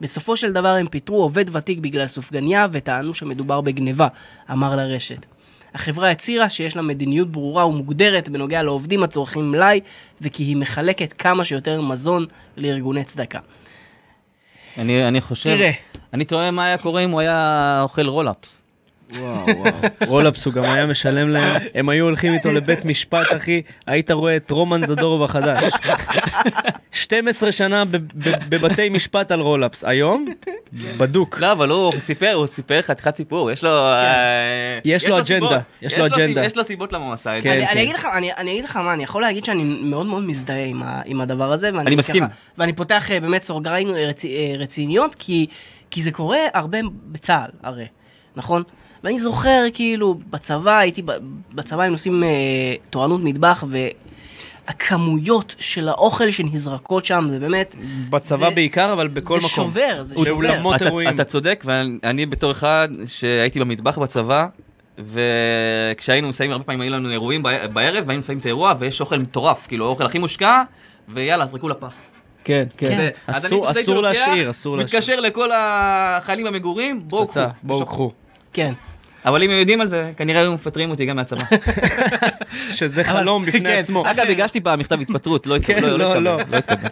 [SPEAKER 2] בסופו של דבר הם פיטרו עובד ותיק בגלל סופגניה וטענו שמדובר בגניבה, אמר לרשת. החברה הצהירה שיש לה מדיניות ברורה ומוגדרת בנוגע לעובדים הצורכים מלאי, וכי היא מחלקת כמה שיותר מזון לארגוני צדקה.
[SPEAKER 3] אני אני חושב...
[SPEAKER 2] תראה.
[SPEAKER 3] אני תוהה מה היה קורה אם הוא היה אוכל רולאפס.
[SPEAKER 1] וואו, וואו. רולאפס הוא גם היה משלם להם, הם היו הולכים איתו לבית משפט, אחי, היית רואה את רומן זדורוב החדש. 12 שנה בב- בב- בבתי משפט על רולאפס. היום? בדוק.
[SPEAKER 3] לא, אבל הוא סיפר, הוא סיפר חתיכת סיפור, יש לו... אה,
[SPEAKER 1] כן. יש לו אג'נדה,
[SPEAKER 3] סיבות.
[SPEAKER 1] יש לו אג'נדה.
[SPEAKER 3] יש לו סיבות למה הוא עשה את
[SPEAKER 1] כן,
[SPEAKER 3] זה.
[SPEAKER 2] אני, אני, אגיד לך, אני, אני אגיד לך מה, אני יכול להגיד שאני מאוד מאוד מזדהה עם, ה, עם הדבר הזה. ואני
[SPEAKER 3] אני מסכים.
[SPEAKER 2] ככה- ואני פותח אה, באמת סוגריים אה, רצ, אה, רציניות, כי, כי זה קורה הרבה בצה"ל, הרי, נכון? ואני זוכר, כאילו, בצבא, הייתי, ב- בצבא היינו עושים אה, תורנות מטבח, והכמויות של האוכל שנזרקות שם, זה באמת,
[SPEAKER 1] בצבא
[SPEAKER 2] זה-
[SPEAKER 1] בעיקר, אבל בכל
[SPEAKER 2] זה
[SPEAKER 1] מקום.
[SPEAKER 2] שובר, זה
[SPEAKER 1] הוא
[SPEAKER 2] שובר.
[SPEAKER 1] לאולמות
[SPEAKER 3] אתה-
[SPEAKER 1] אירועים.
[SPEAKER 3] אתה צודק, ואני בתור אחד שהייתי במטבח בצבא, וכשהיינו מסיימים, הרבה פעמים היו לנו אירועים ב- בערב, והיינו מסיימים את האירוע, ויש אוכל מטורף, כאילו, האוכל הכי מושקע, ויאללה, זרקו לפח.
[SPEAKER 1] כן,
[SPEAKER 3] זה-
[SPEAKER 1] כן.
[SPEAKER 3] אז אני
[SPEAKER 1] אסור
[SPEAKER 3] פשוט הייתי
[SPEAKER 1] אסור
[SPEAKER 3] לוקח,
[SPEAKER 1] להשאיר, אסור להשאיר.
[SPEAKER 3] מתקשר לכל החיילים המגורים, בואו קחו.
[SPEAKER 1] פצצה, בואו קחו.
[SPEAKER 2] כן.
[SPEAKER 3] אבל אם הם יודעים על זה, כנראה היו מפטרים אותי
[SPEAKER 1] *laughs*
[SPEAKER 3] גם מהצבא.
[SPEAKER 1] שזה חלום בפני
[SPEAKER 2] כן.
[SPEAKER 1] עצמו.
[SPEAKER 3] אגב, הגשתי פעם מכתב התפטרות, לא
[SPEAKER 1] כן,
[SPEAKER 3] התקבל. אה, לא,
[SPEAKER 1] לא,
[SPEAKER 3] לא,
[SPEAKER 1] לא.
[SPEAKER 3] התקבל, לא התקבל.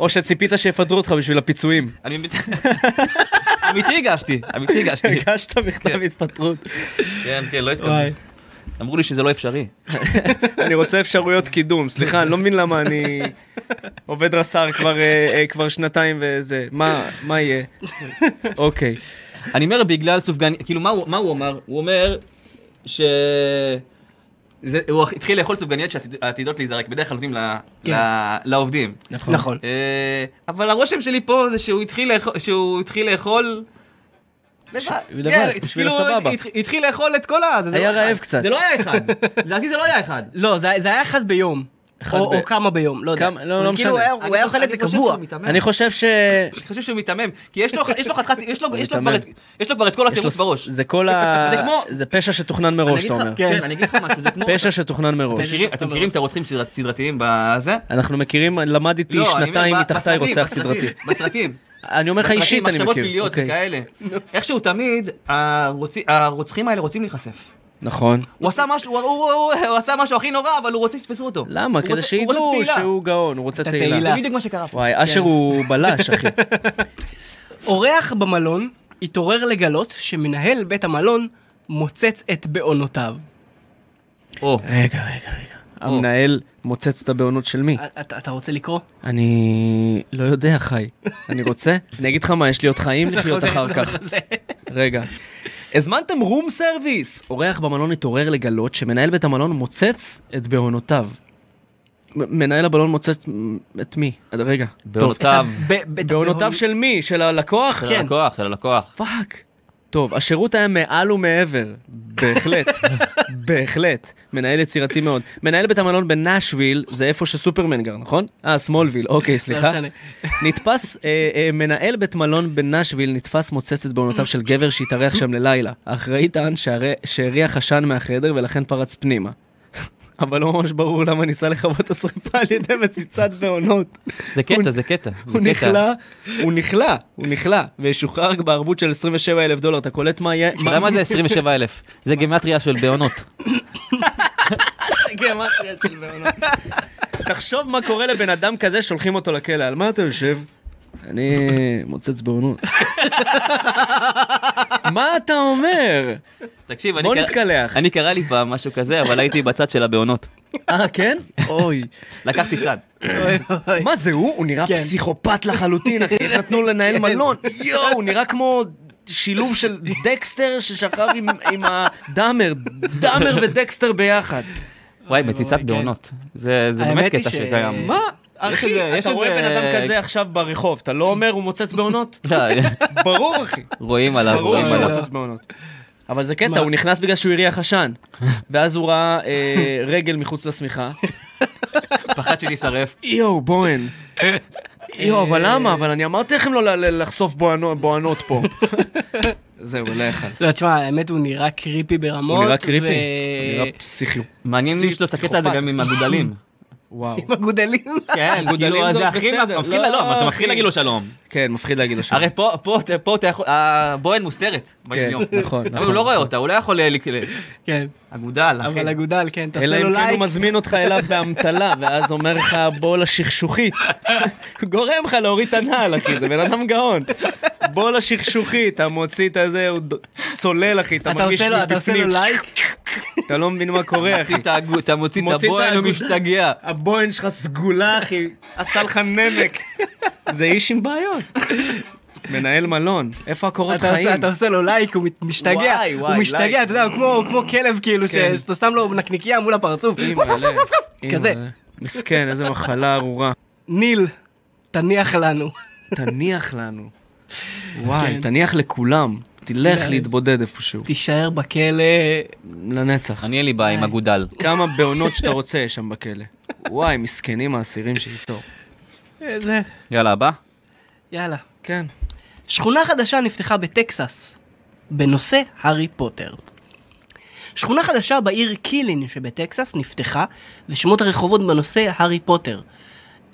[SPEAKER 1] או שציפית שיפטרו אותך בשביל הפיצויים.
[SPEAKER 3] אני מת- *laughs* אמיתי הגשתי, אמיתי הגשתי.
[SPEAKER 1] הגשת מכתב התפטרות.
[SPEAKER 3] כן, כן, לא התקבל. אמרו לי שזה לא אפשרי.
[SPEAKER 1] אני רוצה אפשרויות קידום, סליחה, אני לא מבין למה אני עובד רס"ר כבר, אה, אה, כבר שנתיים וזה, מה, מה יהיה? אוקיי.
[SPEAKER 3] אני אומר בגלל סופגניה, כאילו מה הוא, מה הוא אמר? הוא אומר ש... זה, הוא התחיל לאכול סופגניות שעתידות להיזרק, בדרך כלל נותנים ל,
[SPEAKER 2] כן.
[SPEAKER 3] ל, לעובדים.
[SPEAKER 2] נכון. נכון.
[SPEAKER 3] אה, אבל הרושם שלי פה זה שהוא התחיל לאכול, שהוא התחיל לאכול... לבד,
[SPEAKER 1] לבד, בשביל
[SPEAKER 3] כאילו,
[SPEAKER 1] הסבבה.
[SPEAKER 3] התח- התחיל לאכול את כל הזה, זה
[SPEAKER 1] היה
[SPEAKER 3] לא אחד.
[SPEAKER 1] רעב קצת. *laughs*
[SPEAKER 3] זה לא היה אחד, לדעתי זה לא היה אחד.
[SPEAKER 2] לא, זה, זה היה אחד ביום.
[SPEAKER 1] אחד
[SPEAKER 2] או
[SPEAKER 1] ב-
[SPEAKER 2] או כמה ביום, לא יודע.
[SPEAKER 1] כמה- לא,
[SPEAKER 2] אבל
[SPEAKER 1] לא
[SPEAKER 2] כאילו
[SPEAKER 1] משנה.
[SPEAKER 2] היה- הוא היה אוכל את זה
[SPEAKER 3] אני חושב
[SPEAKER 2] קבוע.
[SPEAKER 3] שהוא מתאמן.
[SPEAKER 1] אני חושב ש...
[SPEAKER 3] אני חושב שהוא מיתמם, כי יש לו יש לו חתיכת, יש לו-
[SPEAKER 1] הוא
[SPEAKER 3] יש לו כבר את- יש לו כבר את כל
[SPEAKER 1] יש לו-
[SPEAKER 3] התירוץ בראש.
[SPEAKER 1] זה כל ה...
[SPEAKER 3] זה כמו-
[SPEAKER 1] זה פשע שתוכנן
[SPEAKER 3] אני
[SPEAKER 1] מראש,
[SPEAKER 3] אגיד
[SPEAKER 1] אתה
[SPEAKER 3] לך-
[SPEAKER 1] אומר.
[SPEAKER 2] כן.
[SPEAKER 3] כן,
[SPEAKER 1] *laughs*
[SPEAKER 3] אני אגיד לך משהו, זה כמו...
[SPEAKER 1] פשע שתוכנן מראש.
[SPEAKER 3] מכירים- אתם מכירים את הרותחים סדרת- סדרתיים בזה?
[SPEAKER 1] אנחנו מכירים, למדתי
[SPEAKER 3] לא, אני
[SPEAKER 1] שנתיים
[SPEAKER 3] אומר, ב-
[SPEAKER 1] מתחתיי
[SPEAKER 3] בסרטים,
[SPEAKER 1] רוצח
[SPEAKER 3] בסרטים,
[SPEAKER 1] סדרתי.
[SPEAKER 3] בסרטים.
[SPEAKER 1] אני אומר לך אישית, אני
[SPEAKER 3] מחשבות
[SPEAKER 1] מכיר.
[SPEAKER 3] פליליות
[SPEAKER 1] אוקיי.
[SPEAKER 3] וכאלה. איכשהו תמיד הרוצי- הרוצחים האלה רוצים להיחשף.
[SPEAKER 1] נכון.
[SPEAKER 3] הוא עשה משהו, הוא- הוא- הוא- הוא עשה משהו הכי נורא, אבל הוא רוצה שיתפסו אותו.
[SPEAKER 1] למה?
[SPEAKER 3] הוא
[SPEAKER 1] כדי
[SPEAKER 3] רוצה- הוא רוצה
[SPEAKER 1] שידעו
[SPEAKER 3] תהילה. כן.
[SPEAKER 1] שהוא גאון, הוא רוצה
[SPEAKER 2] אתה
[SPEAKER 1] תהילה.
[SPEAKER 2] תהילה.
[SPEAKER 3] זה בדיוק מה שקרה פה.
[SPEAKER 1] וואי, אשר הוא בלש, אחי.
[SPEAKER 2] אורח במלון התעורר לגלות שמנהל בית המלון מוצץ את בעונותיו.
[SPEAKER 3] או,
[SPEAKER 1] רגע, רגע, רגע. המנהל מוצץ את הבעונות של מי?
[SPEAKER 2] אתה אתה רוצה לקרוא?
[SPEAKER 1] אני לא יודע, חי. אני רוצה? אני אגיד לך מה, יש לי עוד חיים
[SPEAKER 2] אוקיי.
[SPEAKER 1] לחיות אחר כך.
[SPEAKER 2] *laughs*
[SPEAKER 1] רגע. הזמנתם רום סרוויס! אורח במלון התעורר לגלות שמנהל בית המלון מוצץ את בעונותיו. מ- מנהל המלון מוצץ מ- את מי? רגע. טוב.
[SPEAKER 3] בעונותיו.
[SPEAKER 2] ב- בית
[SPEAKER 1] בעונותיו
[SPEAKER 2] המלון-
[SPEAKER 1] של מי? של הלקוח?
[SPEAKER 2] כן.
[SPEAKER 3] הלקוח, של הלקוח.
[SPEAKER 1] פאק. טוב, השירות היה מעל ומעבר. בהחלט.
[SPEAKER 2] *laughs*
[SPEAKER 1] בהחלט. מנהל יצירתי מאוד. מנהל בית המלון בנשוויל, זה איפה שסופרמן גר, נכון? אה, סמולוויל, אוקיי,
[SPEAKER 2] לא
[SPEAKER 1] סליחה.
[SPEAKER 2] משנה.
[SPEAKER 1] נתפס, אה, אה, מנהל בית מלון בנשוויל נתפס מוצץ את בעונותיו של גבר שהתארח שם ללילה. האחראי טען שהרי- שהריח עשן מהחדר ולכן פרץ פנימה. *laughs* אבל לא ממש ברור למה ניסה לכבות את השרפה על ידי מציצת בעונות.
[SPEAKER 3] זה קטע, זה קטע.
[SPEAKER 1] הוא נכלא, הוא נכלא, הוא נכלא, וישוחרר רק בערבות של 27 אלף דולר. אתה קולט מה יהיה?
[SPEAKER 3] אתה יודע מה זה 27 אלף? זה גימטריה של בעונות.
[SPEAKER 2] כן,
[SPEAKER 1] גימטריה של בעונות. תחשוב מה קורה לבן אדם כזה, שולחים אותו לכלא. על מה אתה יושב? אני מוצץ בעונות. *laughs* מה אתה אומר?
[SPEAKER 3] תקשיב, אני
[SPEAKER 1] בוא
[SPEAKER 3] קרא-
[SPEAKER 1] נתקלח.
[SPEAKER 3] אני קרא לי פעם משהו כזה, אבל הייתי בצד של הבעונות.
[SPEAKER 1] אה, כן? אוי.
[SPEAKER 3] לקחתי צד.
[SPEAKER 2] *laughs* אוי, אוי.
[SPEAKER 1] מה זה הוא? הוא נראה
[SPEAKER 2] כן.
[SPEAKER 1] פסיכופת לחלוטין, אחי. איך נתנו לו לנהל
[SPEAKER 3] כן.
[SPEAKER 1] מלון? יואו, הוא נראה כמו שילוב של דקסטר ששכב עם- עם הדאמר. דאמר ודקסטר ביחד.
[SPEAKER 3] וואי,
[SPEAKER 1] לא
[SPEAKER 3] מציצת
[SPEAKER 2] כן.
[SPEAKER 3] בעונות. זה זה
[SPEAKER 2] האמת
[SPEAKER 3] באמת
[SPEAKER 2] היא
[SPEAKER 3] קטע
[SPEAKER 2] ש-
[SPEAKER 3] שקיים.
[SPEAKER 1] מה?
[SPEAKER 3] יש
[SPEAKER 1] אחי,
[SPEAKER 3] איזה- יש
[SPEAKER 1] אתה רואה
[SPEAKER 3] איזה-
[SPEAKER 1] בן אדם כזה עכשיו ברחוב, אתה לא אומר הוא מוצץ בעונות?
[SPEAKER 3] לא,
[SPEAKER 1] *laughs* ברור, אחי.
[SPEAKER 3] רואים עליו,
[SPEAKER 1] ברור
[SPEAKER 3] רואים
[SPEAKER 1] שהוא *laughs*
[SPEAKER 3] עליו.
[SPEAKER 1] מוצץ בעונות. אבל זה קטע,
[SPEAKER 2] מה?
[SPEAKER 1] הוא נכנס בגלל שהוא הריח עשן. ואז הוא ראה אה, רגל מחוץ לשמיכה.
[SPEAKER 3] פחד שתישרף.
[SPEAKER 1] יואו, אה. בוהן. יואו, אבל למה? אבל אני אמרתי לכם לא ל- ל- לחשוף בוענו- בוענות פה. *laughs* זהו, לא יכל.
[SPEAKER 2] לא, תשמע, האמת הוא נראה קריפי ברמות.
[SPEAKER 1] הוא נראה קריפי,
[SPEAKER 2] ו-
[SPEAKER 1] הוא נראה פסיכי.
[SPEAKER 3] מעניין אם יש לו את הקטע הזה
[SPEAKER 1] פסיכופת.
[SPEAKER 3] גם
[SPEAKER 1] *laughs*
[SPEAKER 3] עם הגודלים.
[SPEAKER 1] וואו.
[SPEAKER 2] עם הגודלים.
[SPEAKER 3] כן,
[SPEAKER 1] גודלים
[SPEAKER 3] כאילו,
[SPEAKER 1] זה
[SPEAKER 3] זה
[SPEAKER 1] עוד
[SPEAKER 3] הכי
[SPEAKER 1] בסדר.
[SPEAKER 3] מפחיד,
[SPEAKER 1] לא,
[SPEAKER 3] לא, אתה
[SPEAKER 1] אחי.
[SPEAKER 3] מפחיד להגיד לו שלום.
[SPEAKER 1] כן, מפחיד להגיד לו שם.
[SPEAKER 3] הרי פה, פה, פה אתה יכול, הבוהן מוסתרת. ביום-יום.
[SPEAKER 1] נכון,
[SPEAKER 3] אבל הוא
[SPEAKER 1] נכון.
[SPEAKER 3] לא רואה אותה, הוא לא יכול ל- ל-
[SPEAKER 2] *laughs* כן,
[SPEAKER 3] אגודל, אחי.
[SPEAKER 2] אבל אגודל, כן,
[SPEAKER 1] אלא
[SPEAKER 2] תעשה לו
[SPEAKER 1] אם כן הוא
[SPEAKER 2] לייק.
[SPEAKER 1] מזמין אותך אליו באמתלה, ואז אומר לך בוא לשכשוכית. *laughs* גורם לך להוריד את הנעל, אחי, זה בן אדם גאון. בוא לשכשוכית, אתה מוציא את הזה, הוא ד- צולל, אחי, אתה
[SPEAKER 2] אתה
[SPEAKER 1] מרגיש
[SPEAKER 2] עושה לו- אתה עושה לו
[SPEAKER 1] מבפנים,
[SPEAKER 2] לייק,
[SPEAKER 1] *laughs* אתה לא מבין מה קורה, אחי.
[SPEAKER 3] מוציא את האגו- אתה מוציא את
[SPEAKER 1] מוציא את
[SPEAKER 3] הבוהן, הוא
[SPEAKER 1] האגודל.
[SPEAKER 3] משתגע.
[SPEAKER 1] הבוהן שלך סגולה, אחי, עשה לך נמק. זה איש עם בעיות. מנהל מלון, איפה הקורות
[SPEAKER 2] אתה עושה-
[SPEAKER 1] חיים?
[SPEAKER 2] אתה עושה לו לייק, הוא מת- משתגע,
[SPEAKER 3] וואי,
[SPEAKER 2] הוא
[SPEAKER 3] וואי, לייק.
[SPEAKER 2] משתגע, אתה יודע, הוא כמו- כמו כלב כאילו, ש-
[SPEAKER 1] כן.
[SPEAKER 2] שאתה שם לו נקניקייה מול הפרצוף,
[SPEAKER 1] אימא, לב, אימא,
[SPEAKER 2] כזה.
[SPEAKER 1] לב. מסכן, איזה מחלה ארורה.
[SPEAKER 2] ניל, תניח לנו.
[SPEAKER 1] תניח לנו. וואי, תניח לכולם. תלך
[SPEAKER 2] כן.
[SPEAKER 1] להתבודד איפשהו.
[SPEAKER 2] תישאר בכלא.
[SPEAKER 1] לנצח.
[SPEAKER 3] אני אין לי בעיה עם אגודל.
[SPEAKER 1] כמה בעונות שאתה רוצה יש שם בכלא. וואי, מסכנים האסירים שאיתו.
[SPEAKER 2] איזה...
[SPEAKER 3] יאללה, הבא.
[SPEAKER 2] יאללה.
[SPEAKER 1] כן.
[SPEAKER 2] שכונה חדשה נפתחה בטקסס בנושא הארי פוטר. שכונה חדשה בעיר קילין שבטקסס נפתחה, ושמות הרחובות בנושא הארי פוטר.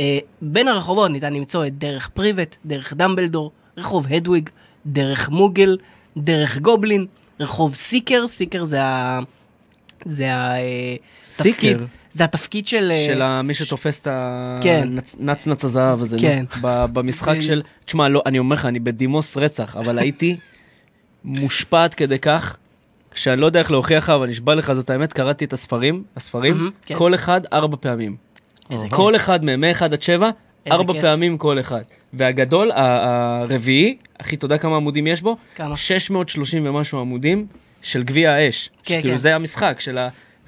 [SPEAKER 2] אה, בין הרחובות ניתן למצוא את דרך פריבט, דרך דמבלדור, רחוב הדוויג, דרך מוגל, דרך גובלין, רחוב סיקר, סיקר זה ה... זה ה... אה,
[SPEAKER 1] סיקר?
[SPEAKER 2] תפקיד- זה התפקיד של... אה,
[SPEAKER 1] של ה- מי שתופס את
[SPEAKER 2] כן.
[SPEAKER 1] הנצנץ הזהב הזה, נו.
[SPEAKER 2] כן.
[SPEAKER 1] ב- במשחק
[SPEAKER 2] ב-
[SPEAKER 1] של... תשמע, לא, אני אומר לך, אני בדימוס רצח,
[SPEAKER 2] *laughs*
[SPEAKER 1] אבל הייתי מושפעת כדי כך. שאני לא יודע איך להוכיח לך, אבל נשבע לך זאת האמת, קראתי את הספרים, הספרים,
[SPEAKER 2] מהמם, כן.
[SPEAKER 1] כל אחד ארבע פעמים.
[SPEAKER 2] איזה
[SPEAKER 1] כל אחד מהם, מ-1 עד 7,
[SPEAKER 2] איזה
[SPEAKER 1] ארבע
[SPEAKER 2] כיף.
[SPEAKER 1] פעמים כל אחד. והגדול, ה- הרביעי, אחי, אתה יודע כמה עמודים יש בו?
[SPEAKER 2] כמה?
[SPEAKER 1] 630 ומשהו עמודים של גביע האש.
[SPEAKER 2] כן,
[SPEAKER 1] כאילו
[SPEAKER 2] כן.
[SPEAKER 1] זה המשחק של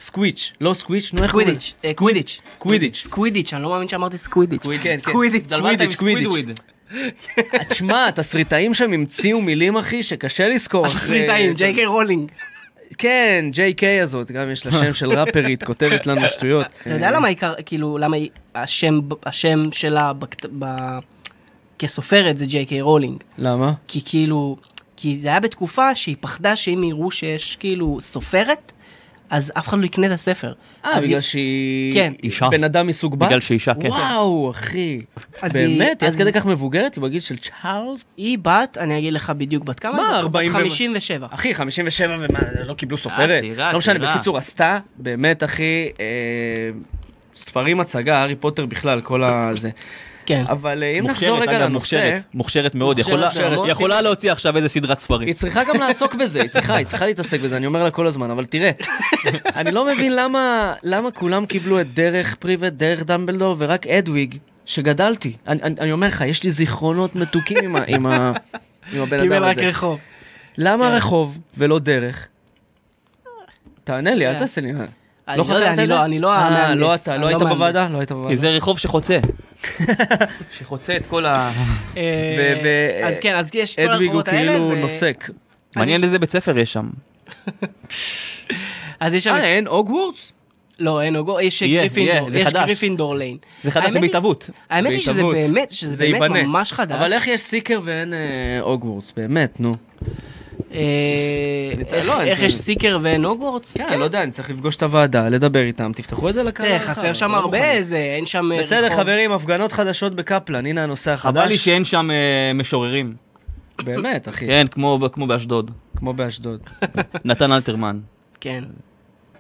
[SPEAKER 1] הסקוויץ', לא סקוויץ', נו איך קוראים לזה?
[SPEAKER 2] סקווידיץ', אה, קווידיץ',
[SPEAKER 1] קווידיץ'.
[SPEAKER 2] סקווידיץ', אני לא מאמין שאמרתי סקווידיץ',
[SPEAKER 1] כן, כן.
[SPEAKER 2] קווידיץ',
[SPEAKER 1] דלמה-
[SPEAKER 3] דלבלת עם
[SPEAKER 1] קווידיץ'.
[SPEAKER 3] סקווידוויד.
[SPEAKER 1] Ah, תשמע, התסריטאים שם המציאו מילים, אחי, שקשה לזכור. אחרי-
[SPEAKER 2] Ah,
[SPEAKER 1] Eh,
[SPEAKER 2] התסריטאים, ג'יי קיי רולינג,
[SPEAKER 1] כן, ג'יי קיי הזאת, גם יש לה שם של ראפרית, כותבת לנו שטויות.
[SPEAKER 2] אתה יודע למה העיקר, כאילו, למה היא- השם, השם שלה בכת- ב- כסופרת זה ג'יי קיי רולינג?
[SPEAKER 1] למה?
[SPEAKER 2] כי כאילו, כי זה היה בתקופה שהיא פחדה שאם יראו שיש כאילו סופרת, אז אף אחד לא יקנה את הספר.
[SPEAKER 1] אה,
[SPEAKER 2] אז
[SPEAKER 1] בגלל
[SPEAKER 2] היא-
[SPEAKER 1] שהיא...
[SPEAKER 2] כן.
[SPEAKER 3] אישה.
[SPEAKER 1] בן אדם מסוג בת?
[SPEAKER 3] בגלל שהיא אישה, כן.
[SPEAKER 1] וואו, אחי.
[SPEAKER 2] אז היא-
[SPEAKER 1] באמת? היא עד
[SPEAKER 2] אז-
[SPEAKER 1] כדי כך מבוגרת? היא בגיל של צ'ארלס?
[SPEAKER 2] היא בת, אני אגיד לך בדיוק בת כמה,
[SPEAKER 1] מה,
[SPEAKER 2] היא בת
[SPEAKER 1] 40 ו-
[SPEAKER 2] 57.
[SPEAKER 1] אחי, 57 ומה, לא קיבלו סופרת?
[SPEAKER 3] אה, צעירה,
[SPEAKER 1] לא משנה,
[SPEAKER 3] צעירה.
[SPEAKER 1] בקיצור, עשתה, באמת, אחי, אה, ספרים הצגה, הארי פוטר בכלל, כל ה... זה.
[SPEAKER 2] כן.
[SPEAKER 1] אבל אה, אם נחזור
[SPEAKER 3] מוכשרת,
[SPEAKER 1] רגע
[SPEAKER 3] אגב,
[SPEAKER 1] לנושא...
[SPEAKER 3] מוכשרת, מוכשרת מאוד, יכולה-
[SPEAKER 1] מוכשרת.
[SPEAKER 3] היא יכולה להוציא עכשיו איזה סדרת
[SPEAKER 1] היא
[SPEAKER 3] ספרים.
[SPEAKER 1] צריכה גם לעסוק בזה, היא צריכה, היא צריכה להתעסק בזה, אני אומר לה כל הזמן, אבל תראה, אני לא מבין למה, למה כולם קיבלו את דרך פריבט, דרך דמבלדור, ורק אדוויג, שגדלתי. אני, אני, אני אומר לך, יש לי זיכרונות מתוקים עם, ה, עם, ה, עם הבן
[SPEAKER 2] קיבל
[SPEAKER 1] אדם
[SPEAKER 2] רק
[SPEAKER 1] הזה.
[SPEAKER 2] רחוב. כן.
[SPEAKER 1] למה רחוב ולא דרך? תענה לי, אל תעשה לי.
[SPEAKER 2] כן. אני לא יודע,
[SPEAKER 1] חקרת
[SPEAKER 2] אני
[SPEAKER 1] את זה?
[SPEAKER 2] לא- אני לא
[SPEAKER 1] אה,
[SPEAKER 2] המהנדס,
[SPEAKER 1] לא אתה,
[SPEAKER 2] אני
[SPEAKER 1] לא
[SPEAKER 2] לא
[SPEAKER 1] היית
[SPEAKER 2] מהנדס.
[SPEAKER 1] בוועדה? לא היית בוועדה.
[SPEAKER 3] כי זה רחוב שחוצה. שחוצה את כל ה...
[SPEAKER 2] אה,
[SPEAKER 1] ו- ו-
[SPEAKER 2] אז כן, אז יש את כל
[SPEAKER 1] אדוויג הוא
[SPEAKER 2] הרחובות האלה.
[SPEAKER 1] כאילו
[SPEAKER 2] ו-
[SPEAKER 1] נוסק.
[SPEAKER 3] *laughs* מעניין
[SPEAKER 2] יש-
[SPEAKER 3] איזה בית ספר יש שם.
[SPEAKER 2] אז יש שם...
[SPEAKER 1] אה, אין הוגוורטס?
[SPEAKER 2] לא, אין הוגו, יש
[SPEAKER 3] יהיה,
[SPEAKER 2] גריפינדור,
[SPEAKER 3] יהיה, זה
[SPEAKER 2] יש
[SPEAKER 3] חדש.
[SPEAKER 2] גריפינדור ליין.
[SPEAKER 3] זה חדש
[SPEAKER 2] האמת היא-
[SPEAKER 3] בהתהוות.
[SPEAKER 2] האמת היא שזה
[SPEAKER 1] בהתהוות.
[SPEAKER 2] באמת, שזה באמת ממש חדש.
[SPEAKER 1] אבל איך יש סיקר ואין אה, הוגוורטס? באמת, נו.
[SPEAKER 2] אה,
[SPEAKER 1] אני צריך-
[SPEAKER 2] איך-
[SPEAKER 1] לא, אני
[SPEAKER 2] איך
[SPEAKER 1] צריך-
[SPEAKER 2] יש סיקר ואין הוגוורטס?
[SPEAKER 1] כן, לא יודע, אני צריך לפגוש את הוועדה, לדבר איתם, תפתחו את זה לקהל.
[SPEAKER 2] תראה,
[SPEAKER 1] הרחב,
[SPEAKER 2] חסר שם
[SPEAKER 1] לא
[SPEAKER 2] הרבה
[SPEAKER 1] מוכנים.
[SPEAKER 2] איזה, אין שם... אה, נכון.
[SPEAKER 1] בסדר,
[SPEAKER 2] רחוב.
[SPEAKER 1] חברים, הפגנות חדשות בקפלן, הנה הנושא
[SPEAKER 3] חבל לי
[SPEAKER 1] החדש.
[SPEAKER 3] שאין שם אה, משוררים.
[SPEAKER 1] באמת, אחי,
[SPEAKER 3] כן, כמו כמו באשדוד.
[SPEAKER 1] כמו באשדוד.
[SPEAKER 3] נתן אלתרמן.
[SPEAKER 2] כן.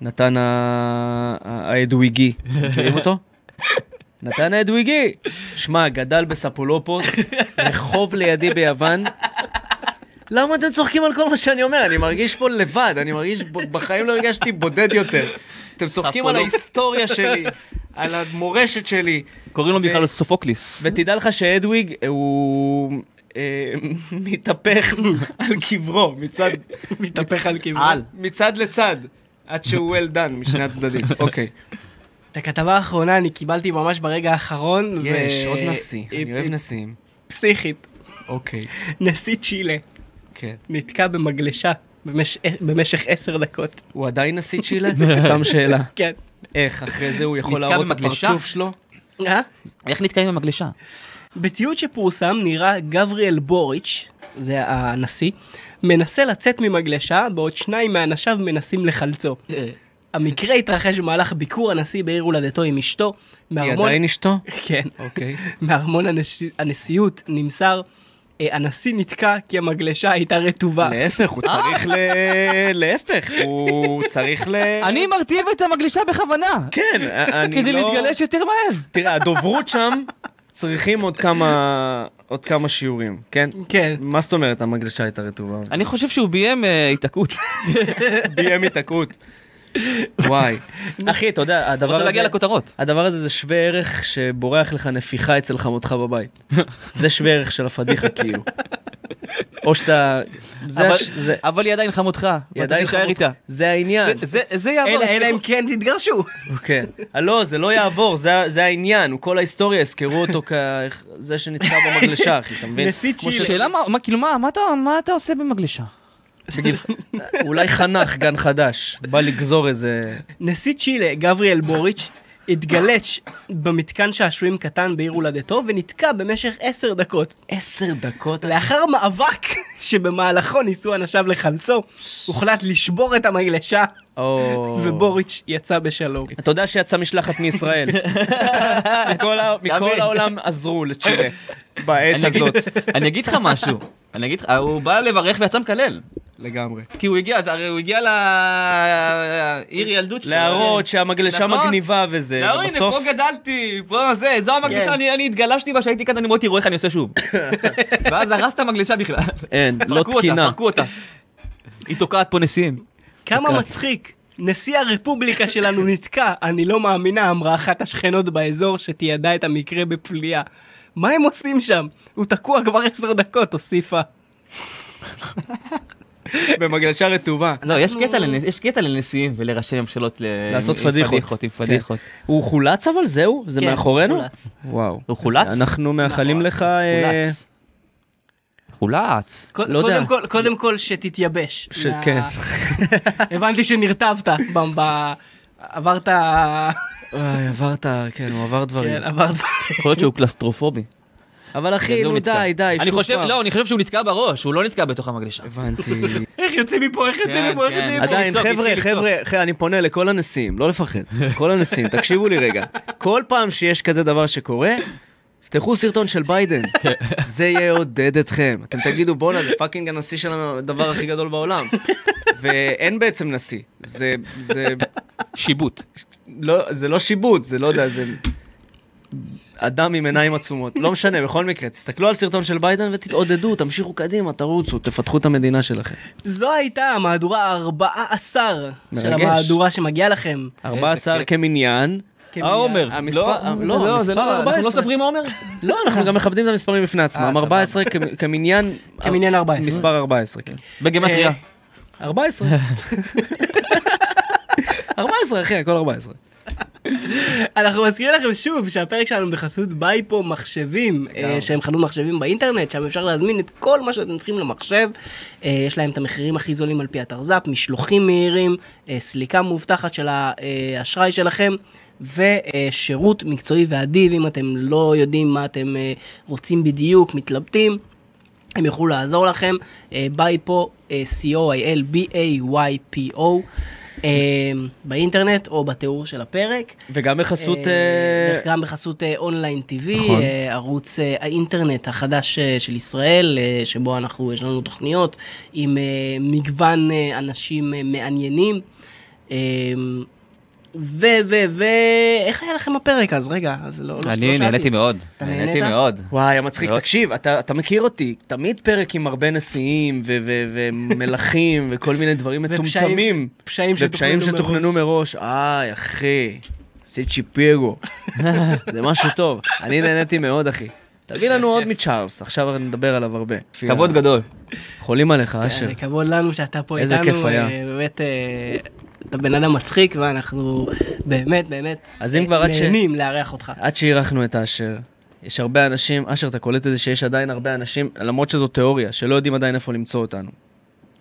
[SPEAKER 1] נתן ה- ה- האדוויגי, מכירים אותו? נתן האדוויגי! שמע, גדל בספולופוס, רחוב לידי ביוון. למה אתם צוחקים על כל מה שאני אומר? אני מרגיש פה לבד, אני מרגיש, ב- בחיים לא הרגשתי בודד יותר. אתם צוחקים על
[SPEAKER 3] ספולופ-
[SPEAKER 1] ההיסטוריה שלי, על המורשת שלי.
[SPEAKER 3] קוראים לו
[SPEAKER 1] ו-
[SPEAKER 3] בכלל סופוקליס.
[SPEAKER 1] ותדע לך שאדוויג אה, הוא אה, מתהפך על קברו מצד,
[SPEAKER 2] מתהפך על כיוון.
[SPEAKER 1] מצד לצד, עד שהוא well done משני הצדדים. אוקיי.
[SPEAKER 2] את הכתבה האחרונה אני קיבלתי ממש ברגע האחרון. ו-
[SPEAKER 1] יש עוד נשיא, אני אוהב
[SPEAKER 2] היא-
[SPEAKER 1] נשיאים.
[SPEAKER 2] היא פסיכית.
[SPEAKER 1] אה, אוקיי,
[SPEAKER 2] נשיא צ'ילה
[SPEAKER 1] כן.
[SPEAKER 2] נתקע במגלשה במש- במשך עשר דקות.
[SPEAKER 1] הוא עדיין נשיא צ'ילה?
[SPEAKER 3] *laughs*
[SPEAKER 1] סתם שאלה.
[SPEAKER 2] כן.
[SPEAKER 1] איך, אחרי זה הוא יכול
[SPEAKER 3] נתקע
[SPEAKER 1] להראות את
[SPEAKER 3] במגלשה?
[SPEAKER 1] הפרצוף שלו?
[SPEAKER 2] אה?
[SPEAKER 3] איך נתקעים במגלשה?
[SPEAKER 2] בציוד שפורסם נראה גבריאל בוריץ', זה הנשיא, מנסה לצאת ממגלשה בעוד שניים מאנשיו מנסים לחלצו.
[SPEAKER 1] אה.
[SPEAKER 2] המקרה התרחש במהלך ביקור הנשיא בעיר הולדתו עם אשתו.
[SPEAKER 1] היא
[SPEAKER 2] מארמון-
[SPEAKER 1] עדיין אשתו?
[SPEAKER 2] כן. *laughs*
[SPEAKER 1] אוקיי.
[SPEAKER 2] מארמון הנש... הנשיאות נמסר, אה, הנשיא נתקע כי המגלשה הייתה רטובה.
[SPEAKER 1] להפך, הוא צריך ל... להפך, הוא צריך ל... *laughs*
[SPEAKER 3] אני מרטיב את המגלשה בכוונה!
[SPEAKER 1] אה. כן, אני לא...
[SPEAKER 3] כדי להתגלש יותר מהר!
[SPEAKER 1] תראה, הדוברות שם צריכים עוד כמה, עוד כמה שיעורים, כן?
[SPEAKER 2] כן.
[SPEAKER 1] מה זאת אומרת המגלשה הייתה רטובה?
[SPEAKER 3] אני חושב שהוא ביים אה, התעקות.
[SPEAKER 1] ביים התעקרות. וואי. *laughs* אחי, אתה יודע, הדבר
[SPEAKER 3] רוצה
[SPEAKER 1] הזה...
[SPEAKER 3] להגיע לכותרות.
[SPEAKER 1] הדבר הזה זה שווה ערך שבורח לך נפיחה אצל חמותך בבית. *laughs* זה שווה ערך של הפדיחה כאילו. או שאתה... זה...
[SPEAKER 3] אבל-
[SPEAKER 1] הש- זה-
[SPEAKER 3] אבל היא עדיין חמותך.
[SPEAKER 1] היא
[SPEAKER 3] ואתה
[SPEAKER 1] עדיין
[SPEAKER 3] תישאר
[SPEAKER 1] חמותך.
[SPEAKER 3] איתה.
[SPEAKER 1] זה העניין.
[SPEAKER 3] זה- זה- זה יעבור.
[SPEAKER 2] אלא, אלא
[SPEAKER 3] יזכרו.
[SPEAKER 2] אם כן תתגרשו.
[SPEAKER 1] כן. אה, לא, זה לא יעבור, זה- זה העניין. הוא כל ההיסטוריה, יזכרו אותו כזה שנתקע במגלשה, אחי, אתה מבין?
[SPEAKER 2] נשיא
[SPEAKER 1] כמו
[SPEAKER 2] צ'ילה.
[SPEAKER 3] שאלה מה, מה- כאילו מה, מה אתה- מה אתה עושה במגלשה?
[SPEAKER 1] אולי חנך גן חדש, בא לגזור איזה...
[SPEAKER 2] נשיא צ'ילה, גבריאל בוריץ', התגלץ' במתקן שעשועים קטן בעיר הולדתו ונתקע במשך עשר דקות.
[SPEAKER 1] עשר דקות.
[SPEAKER 2] לאחר מאבק שבמהלכו ניסו אנשיו לחלצו, הוחלט לשבור את המגלשה, ובוריץ' יצא בשלום.
[SPEAKER 1] אתה יודע שיצאה משלחת
[SPEAKER 3] *laughs*
[SPEAKER 1] מישראל. מכל ה- מכל
[SPEAKER 3] תבין.
[SPEAKER 1] העולם עזרו לצ'ילה בעת הזאת.
[SPEAKER 3] אני אגיד לך משהו. אני אגיד לך, הוא בא לברך ויצא מקלל.
[SPEAKER 1] לגמרי.
[SPEAKER 3] כי הוא הגיע, אז הרי הוא הגיע לעיר ילדות שלו.
[SPEAKER 1] להראות שהמגלשה
[SPEAKER 3] נכון.
[SPEAKER 1] מגניבה וזה,
[SPEAKER 3] לא, הנה, פה
[SPEAKER 1] ובסוף...
[SPEAKER 3] גדלתי, פה זה, זו
[SPEAKER 2] כן.
[SPEAKER 3] המגלשה, אני אני התגלשתי בה שהייתי כאן, אני מוטי, רואה איך אני עושה *laughs* שוב. ואז הרס את המגלשה בכלל.
[SPEAKER 1] אין,
[SPEAKER 3] *laughs*
[SPEAKER 1] לא
[SPEAKER 3] פרקו אותה,
[SPEAKER 1] תקינה.
[SPEAKER 3] פרקו אותה. היא תוקעת פה נשיאים.
[SPEAKER 2] כמה מצחיק. נשיא הרפובליקה שלנו נתקע, אני לא מאמינה, אמרה אחת השכנות באזור שתיעדה את המקרה בפליאה. מה הם עושים שם? הוא תקוע כבר עשר דקות, הוסיפה.
[SPEAKER 1] במגלשה רטובה.
[SPEAKER 3] לא, יש קטע לנ- יש קטע לנשיאים ולראשי ממשלות ל-
[SPEAKER 1] לעשות
[SPEAKER 3] עם
[SPEAKER 1] פדיחות.
[SPEAKER 3] עם פדיחות. כן.
[SPEAKER 1] הוא חולץ אבל זהו? זה
[SPEAKER 2] כן,
[SPEAKER 1] מאחורינו?
[SPEAKER 2] חולץ.
[SPEAKER 1] וואו.
[SPEAKER 3] הוא חולץ?
[SPEAKER 1] אנחנו מאחלים לך... אה,
[SPEAKER 3] חולץ. חולץ.
[SPEAKER 2] קוד-
[SPEAKER 1] לא יודע.
[SPEAKER 2] קודם כל- קודם כל שתתייבש.
[SPEAKER 1] ש-
[SPEAKER 2] מה-
[SPEAKER 1] כן.
[SPEAKER 2] *laughs* הבנתי שנרטבת. ב- ב- עברת...
[SPEAKER 1] וואי, עברת, כן, הוא עבר דברים.
[SPEAKER 2] כן, עברת...
[SPEAKER 3] יכול להיות שהוא קלסטרופובי.
[SPEAKER 1] אבל אחי,
[SPEAKER 3] בגלל זה הוא
[SPEAKER 1] נו
[SPEAKER 3] נתקע.
[SPEAKER 1] כאילו, די, די,
[SPEAKER 3] אני
[SPEAKER 1] שוב
[SPEAKER 3] חושב,
[SPEAKER 1] פעם.
[SPEAKER 3] לא, אני חושב שהוא נתקע בראש, הוא לא נתקע בתוך המגלשה.
[SPEAKER 1] הבנתי.
[SPEAKER 2] איך יוצא מפה, איך יוצא
[SPEAKER 3] כן,
[SPEAKER 2] מפה, איך
[SPEAKER 3] כן.
[SPEAKER 2] יוצא מפה.
[SPEAKER 1] עדיין,
[SPEAKER 3] לצעוק,
[SPEAKER 1] חבר'ה,
[SPEAKER 3] התחיל
[SPEAKER 1] חבר'ה, חבר'ה, אני פונה לכל הנשיאים, לא לפחד. כל הנשיאים, תקשיבו לי רגע. כל פעם שיש כזה דבר שקורה, תפתחו סרטון של ביידן. זה יעודד אתכם. אתם תגידו, בואנה, זה פאקינג הנשיא של הדבר הכי גדול בעולם. ואין בעצם נשיא. זה, זה,
[SPEAKER 3] שיבוט.
[SPEAKER 1] לא, זה לא שיבוט, זה לא יודע, זה... אדם עם עיניים עצומות, לא משנה, בכל מקרה, תסתכלו על סרטון של ביידן ותתעודדו, תמשיכו קדימה, תרוצו, תפתחו את המדינה שלכם.
[SPEAKER 2] זו הייתה המהדורה ה-14 של
[SPEAKER 1] מרגש.
[SPEAKER 2] המהדורה שמגיעה לכם.
[SPEAKER 1] 14 כמניין,
[SPEAKER 2] כמניין.
[SPEAKER 3] העומר.
[SPEAKER 1] המספר-
[SPEAKER 3] לא,
[SPEAKER 1] לא,
[SPEAKER 3] לא, זה
[SPEAKER 1] המספר
[SPEAKER 3] לא, אנחנו לא
[SPEAKER 1] 14.
[SPEAKER 3] סופרים עומר?
[SPEAKER 1] לא, אנחנו גם מכבדים את המספרים בפני עצמם.
[SPEAKER 3] סבבה.
[SPEAKER 1] 14 כ- כמניין...
[SPEAKER 2] אה, כמניין 14.
[SPEAKER 1] מספר 14, כן.
[SPEAKER 3] בגימטריה.
[SPEAKER 2] אה,
[SPEAKER 1] 14. 14, אחי, הכל 14.
[SPEAKER 2] אנחנו מזכירים לכם שוב שהפרק שלנו בחסות בייפו מחשבים, אה, שהם חנות מחשבים באינטרנט, שם אפשר להזמין את כל מה שאתם צריכים למחשב. אה, יש להם את המחירים הכי זולים על פי התרז"פ, משלוחים מהירים, אה, סליקה מאובטחת של האשראי שלכם. ושירות מקצועי ואדיב, אם אתם לא יודעים מה אתם אה, רוצים בדיוק, מתלבטים, הם יוכלו לעזור לכם. אה, בייפו, אה, co.il, b-a-y-p-o, אה, באינטרנט או בתיאור של הפרק.
[SPEAKER 1] וגם בחסות...
[SPEAKER 2] אה,
[SPEAKER 1] אה,
[SPEAKER 2] דרך גם בחסות אה, אונליין TV,
[SPEAKER 1] נכון.
[SPEAKER 2] אה, ערוץ אה, האינטרנט החדש אה, של ישראל, אה, שבו אנחנו, יש לנו תוכניות עם אה, מגוון אה, אנשים אה, מעניינים. אה, ו, ו, ו... איך היה לכם הפרק אז? רגע, אז לא, לא, לא
[SPEAKER 3] אני
[SPEAKER 2] שאלתי.
[SPEAKER 3] נהניתי מאוד.
[SPEAKER 2] אתה
[SPEAKER 3] נהניתי
[SPEAKER 2] נהנית?
[SPEAKER 3] מאוד.
[SPEAKER 1] וואי, היה מצחיק.
[SPEAKER 3] מאוד.
[SPEAKER 1] תקשיב, אתה אתה מכיר אותי, תמיד פרק עם הרבה נשיאים ו- ו- ומלכים וכל מיני דברים
[SPEAKER 2] ופשעים ש-
[SPEAKER 1] מטומטמים.
[SPEAKER 2] פשעים
[SPEAKER 1] ופשעים
[SPEAKER 2] שתוכננו
[SPEAKER 1] שתוכננו מראש. איי, אחי, סיד
[SPEAKER 2] *laughs*
[SPEAKER 1] שיפירו. זה משהו טוב. אני נהניתי מאוד, אחי. תביא לנו עוד מצ'ארלס, עכשיו נדבר עליו הרבה.
[SPEAKER 3] כבוד גדול.
[SPEAKER 1] חולים עליך, אשר.
[SPEAKER 2] אה, כבוד לנו שאתה פה
[SPEAKER 1] איזה
[SPEAKER 2] איתנו.
[SPEAKER 1] כיף היה.
[SPEAKER 2] אה, באמת, אה, אתה בן אדם מצחיק, ואנחנו באמת, באמת,
[SPEAKER 1] אז אם
[SPEAKER 2] אה,
[SPEAKER 1] כבר עד ש-
[SPEAKER 2] נהנים לארח אותך.
[SPEAKER 1] עד שאירחנו את אשר, יש הרבה אנשים, אשר, אתה קולט את זה שיש עדיין הרבה אנשים, למרות שזו תיאוריה, שלא יודעים עדיין איפה למצוא אותנו.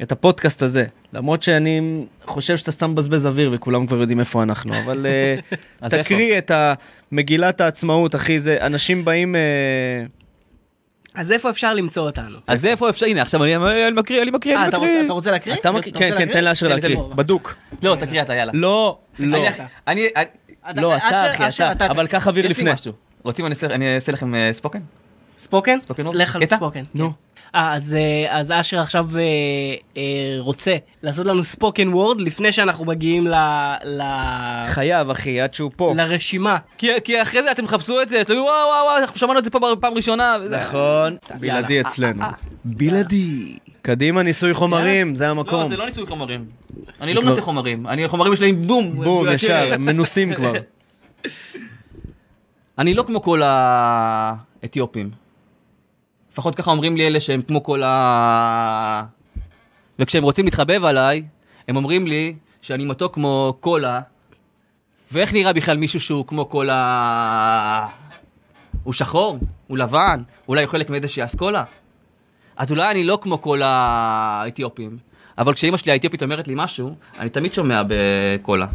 [SPEAKER 1] את הפודקאסט הזה, למרות שאני חושב שאתה סתם מבזבז אוויר וכולם כבר יודעים איפה אנחנו, אבל
[SPEAKER 2] *laughs*
[SPEAKER 1] אה,
[SPEAKER 3] אז
[SPEAKER 1] תקריא את ה- מגילת העצמאות, אחי, זה, אנשים באים... אה,
[SPEAKER 2] אז איפה אפשר למצוא אותנו?
[SPEAKER 3] אז איפה אפשר? הנה, עכשיו אני אני מקריא, אני מקריא,
[SPEAKER 2] אה,
[SPEAKER 3] אני
[SPEAKER 2] אתה רוצה-
[SPEAKER 3] מקריא.
[SPEAKER 2] אתה רוצה להקריא?
[SPEAKER 1] אתה
[SPEAKER 2] אתה
[SPEAKER 1] מכיר,
[SPEAKER 2] רוצה
[SPEAKER 1] כן, כן,
[SPEAKER 2] להקריא?
[SPEAKER 1] תן לאשר
[SPEAKER 2] תן
[SPEAKER 1] להקריא,
[SPEAKER 2] לי.
[SPEAKER 1] בדוק.
[SPEAKER 3] לא, תקריא אתה, יאללה.
[SPEAKER 1] לא, לא.
[SPEAKER 3] אני- אני... אני-
[SPEAKER 1] לא,
[SPEAKER 2] אתה-
[SPEAKER 1] אתה,
[SPEAKER 2] אשר,
[SPEAKER 1] אחי,
[SPEAKER 2] אשר,
[SPEAKER 1] אתה,
[SPEAKER 2] אתה-
[SPEAKER 1] אבל קח אוויר
[SPEAKER 3] יש לי
[SPEAKER 1] לפני.
[SPEAKER 3] משהו. רוצים אני אעשה- אני אעשה לכם אה, ספוקן?
[SPEAKER 2] ספוקן?
[SPEAKER 3] ספוקן רוק?
[SPEAKER 2] לך על
[SPEAKER 3] קטע?
[SPEAKER 2] ספוקן.
[SPEAKER 1] נו.
[SPEAKER 2] אה, אז, אה, אז אשר עכשיו אה, אה, רוצה לעשות לנו ספוקן וורד לפני שאנחנו מגיעים ל, ל,
[SPEAKER 1] חייב, אחי, עד שהוא פה.
[SPEAKER 2] לרשימה.
[SPEAKER 3] כי- כי אחרי זה אתם חפשו את זה, תגידו וואו וואו וואו, אנחנו שמענו את זה פה בר- פעם ראשונה. וזה-
[SPEAKER 1] נכון,
[SPEAKER 2] אה,
[SPEAKER 1] בלעדי אצלנו. בלעדי. קדימה, ניסוי חומרים, זה
[SPEAKER 3] לא,
[SPEAKER 1] המקום.
[SPEAKER 3] זה לא ניסוי חומרים. אני לא מנסה חומרים, אני- חומרים יש להם בום.
[SPEAKER 1] בום,
[SPEAKER 3] כן.
[SPEAKER 1] ישר, הם מנוסים כבר.
[SPEAKER 3] אני לא כמו כל האתיופים. לפחות ככה אומרים לי אלה שהם כמו כל ה... וכשהם רוצים להתחבב עליי, הם אומרים לי שאני מתוק כמו קולה, ואיך נראה בכלל מישהו שהוא כמו כל ה... הוא שחור? הוא לבן? אולי הוא חלק מאיזושהי אסכולה? אז אולי אני לא כמו כל האתיופים, אבל כשאימא שלי האתיופית אומרת לי משהו, אני תמיד שומע בקולה.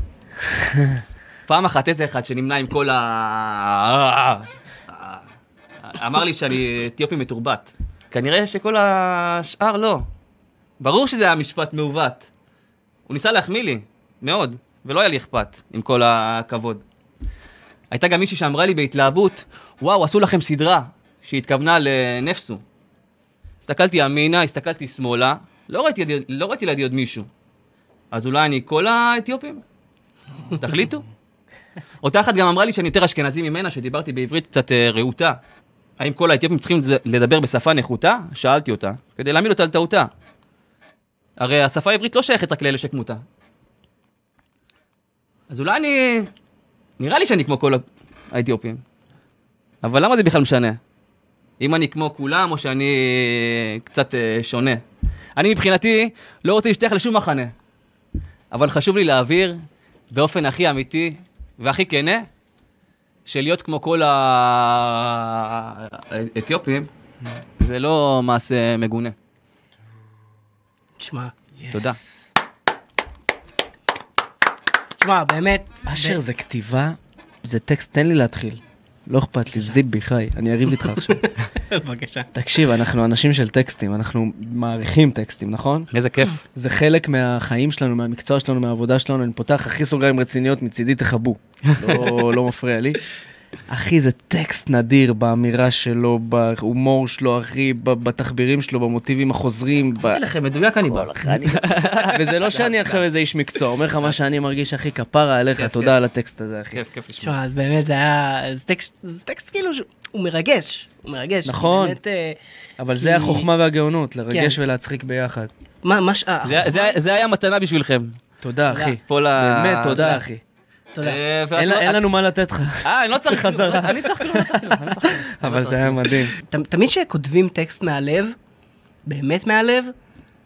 [SPEAKER 3] פעם אחת איזה אחד שנמנה עם כל ה... אמר לי שאני אתיופי מתורבת. כנראה שכל השאר לא. ברור שזה היה משפט מעוות. הוא ניסה להחמיא לי, מאוד, ולא היה לי אכפת, עם כל הכבוד. הייתה גם מישהי שאמרה לי בהתלהבות, וואו, עשו לכם סדרה, שהתכוונה לנפסו. הסתכלתי ימינה, הסתכלתי שמאלה, לא ראיתי, לא ראיתי לידי עוד מישהו. אז אולי אני כל האתיופים? תחליטו. אותה אחת גם אמרה לי שאני יותר אשכנזי ממנה, שדיברתי בעברית קצת אה, רהוטה. האם כל האתיופים צריכים לד- לדבר בשפה נחותה? שאלתי אותה, כדי להעמיד אותה על טעותה. הרי השפה העברית לא שייכת רק לאלה שכמותה. אז אולי אני... נראה לי שאני כמו כל ה- האתיופים. אבל למה זה בכלל משנה? אם אני כמו כולם, או שאני קצת אה, שונה. אני מבחינתי לא רוצה להשתייך לשום מחנה. אבל חשוב לי להבהיר באופן הכי אמיתי והכי כנה, שלהיות כמו כל האתיופים, זה לא מעשה מגונה.
[SPEAKER 2] תשמע,
[SPEAKER 3] תודה.
[SPEAKER 2] תשמע, באמת.
[SPEAKER 1] *laughs* אשר, זה כתיבה, זה טקסט, תן לי להתחיל. לא אכפת לי, זיבי, חי, אני אריב איתך עכשיו.
[SPEAKER 2] בבקשה.
[SPEAKER 1] תקשיב, אנחנו אנשים של טקסטים, אנחנו מעריכים טקסטים, נכון?
[SPEAKER 3] איזה כיף.
[SPEAKER 1] זה חלק מהחיים שלנו, מהמקצוע שלנו, מהעבודה שלנו, אני פותח הכי סוגריים רציניות, מצידי תכבו. *laughs* לא, לא מפריע לי. אחי, זה טקסט נדיר באמירה שלו, בהומור שלו, אחי, ב- בתחבירים שלו, במוטיבים החוזרים. ב-
[SPEAKER 3] אמרתי לכם, מדויק אני בא.
[SPEAKER 1] *laughs* וזה לא שאני עכשיו איזה איש מקצוע, אומר לך מה שאני מרגיש, אחי, כפרה עליך,
[SPEAKER 3] כיף,
[SPEAKER 1] תודה על הטקסט הזה, אחי.
[SPEAKER 3] כיף, כיף לשמוע.
[SPEAKER 2] תשמע, אז באמת זה היה, זה טקסט, זה טקסט כאילו, ש- הוא מרגש, הוא מרגש.
[SPEAKER 1] נכון.
[SPEAKER 2] באמת, אה,
[SPEAKER 1] אבל
[SPEAKER 2] כי-
[SPEAKER 1] זה החוכמה והגאונות, לרגש
[SPEAKER 2] כן.
[SPEAKER 1] ולהצחיק ביחד.
[SPEAKER 2] מה, מה ש... אה,
[SPEAKER 3] זה- זה- זה היה מתנה בשבילכם.
[SPEAKER 1] תודה,
[SPEAKER 2] תודה.
[SPEAKER 1] אחי.
[SPEAKER 3] פה ל...
[SPEAKER 1] באמת, תודה, אחי.
[SPEAKER 2] תודה.
[SPEAKER 3] אה, ואת
[SPEAKER 1] אין
[SPEAKER 3] לא-
[SPEAKER 1] אין לנו מה לתת לך,
[SPEAKER 3] *laughs* אה, אני לא צריך חזרה. אני צריך כלום, לא צריך כלום, אני צריך כלום.
[SPEAKER 1] אבל זה היה מדהים.
[SPEAKER 2] ת- תמיד כשכותבים טקסט מהלב, באמת מהלב,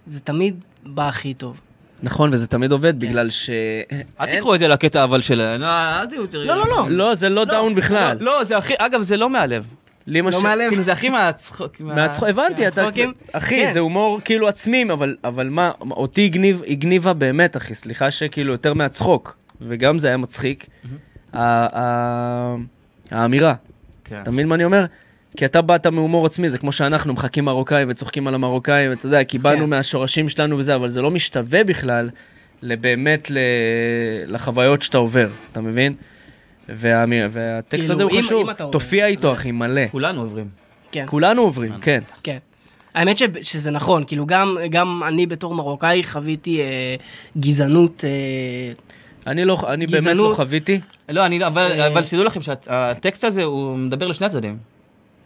[SPEAKER 2] זה תמיד בא הכי טוב.
[SPEAKER 1] נכון, וזה תמיד עובד, בגלל ש...
[SPEAKER 3] אל תיקחו את זה לקטע אבל שלהם. אה, אל תהיו יותר...
[SPEAKER 2] לא, לא, לא.
[SPEAKER 1] לא, זה לא דאון בכלל.
[SPEAKER 3] לא, זה הכי... אגב, זה לא מהלב.
[SPEAKER 1] לא
[SPEAKER 2] מהלב.
[SPEAKER 3] כאילו, זה הכי מהצחוק. מה-
[SPEAKER 1] מהצחוק, הבנתי, אתה...
[SPEAKER 2] מהצחוקים?
[SPEAKER 1] אחי,
[SPEAKER 2] כן.
[SPEAKER 1] זה הומור כאילו עצמים, אבל- אבל מה, אותי הגניב- הגניבה באמת, אחי, סליחה שכאילו יותר מהצחוק, וגם זה היה מצחיק, ה- ה- האמירה.
[SPEAKER 3] כן.
[SPEAKER 1] אתה מבין מה אני אומר? כי אתה באת מהומור עצמי, זה כמו שאנחנו מחקים מרוקאים וצוחקים על המרוקאים, ואתה יודע, כי באנו
[SPEAKER 2] כן.
[SPEAKER 1] מהשורשים שלנו וזה, אבל זה לא משתווה בכלל לבאמת ל... לחוויות שאתה עובר, אתה מבין? וה... והטקסט
[SPEAKER 2] כאילו,
[SPEAKER 1] הזה הוא
[SPEAKER 2] אם-
[SPEAKER 1] חשוב,
[SPEAKER 2] אם אתה עובר,
[SPEAKER 1] תופיע איתו אחי מלא,
[SPEAKER 3] כולנו עוברים.
[SPEAKER 2] כן,
[SPEAKER 1] כולנו עוברים, כן.
[SPEAKER 2] כן. האמת ש, שזה נכון, כאילו גם, גם אני בתור מרוקאי חוויתי אה, גזענות, אה,
[SPEAKER 1] אני לא, אני באמת לא
[SPEAKER 2] גזענות.
[SPEAKER 1] חוויתי,
[SPEAKER 3] לא, אני... אבל
[SPEAKER 2] אה,
[SPEAKER 3] אבל שתדעו לכם שהטקסט הזה, הוא מדבר לשני הצדדים.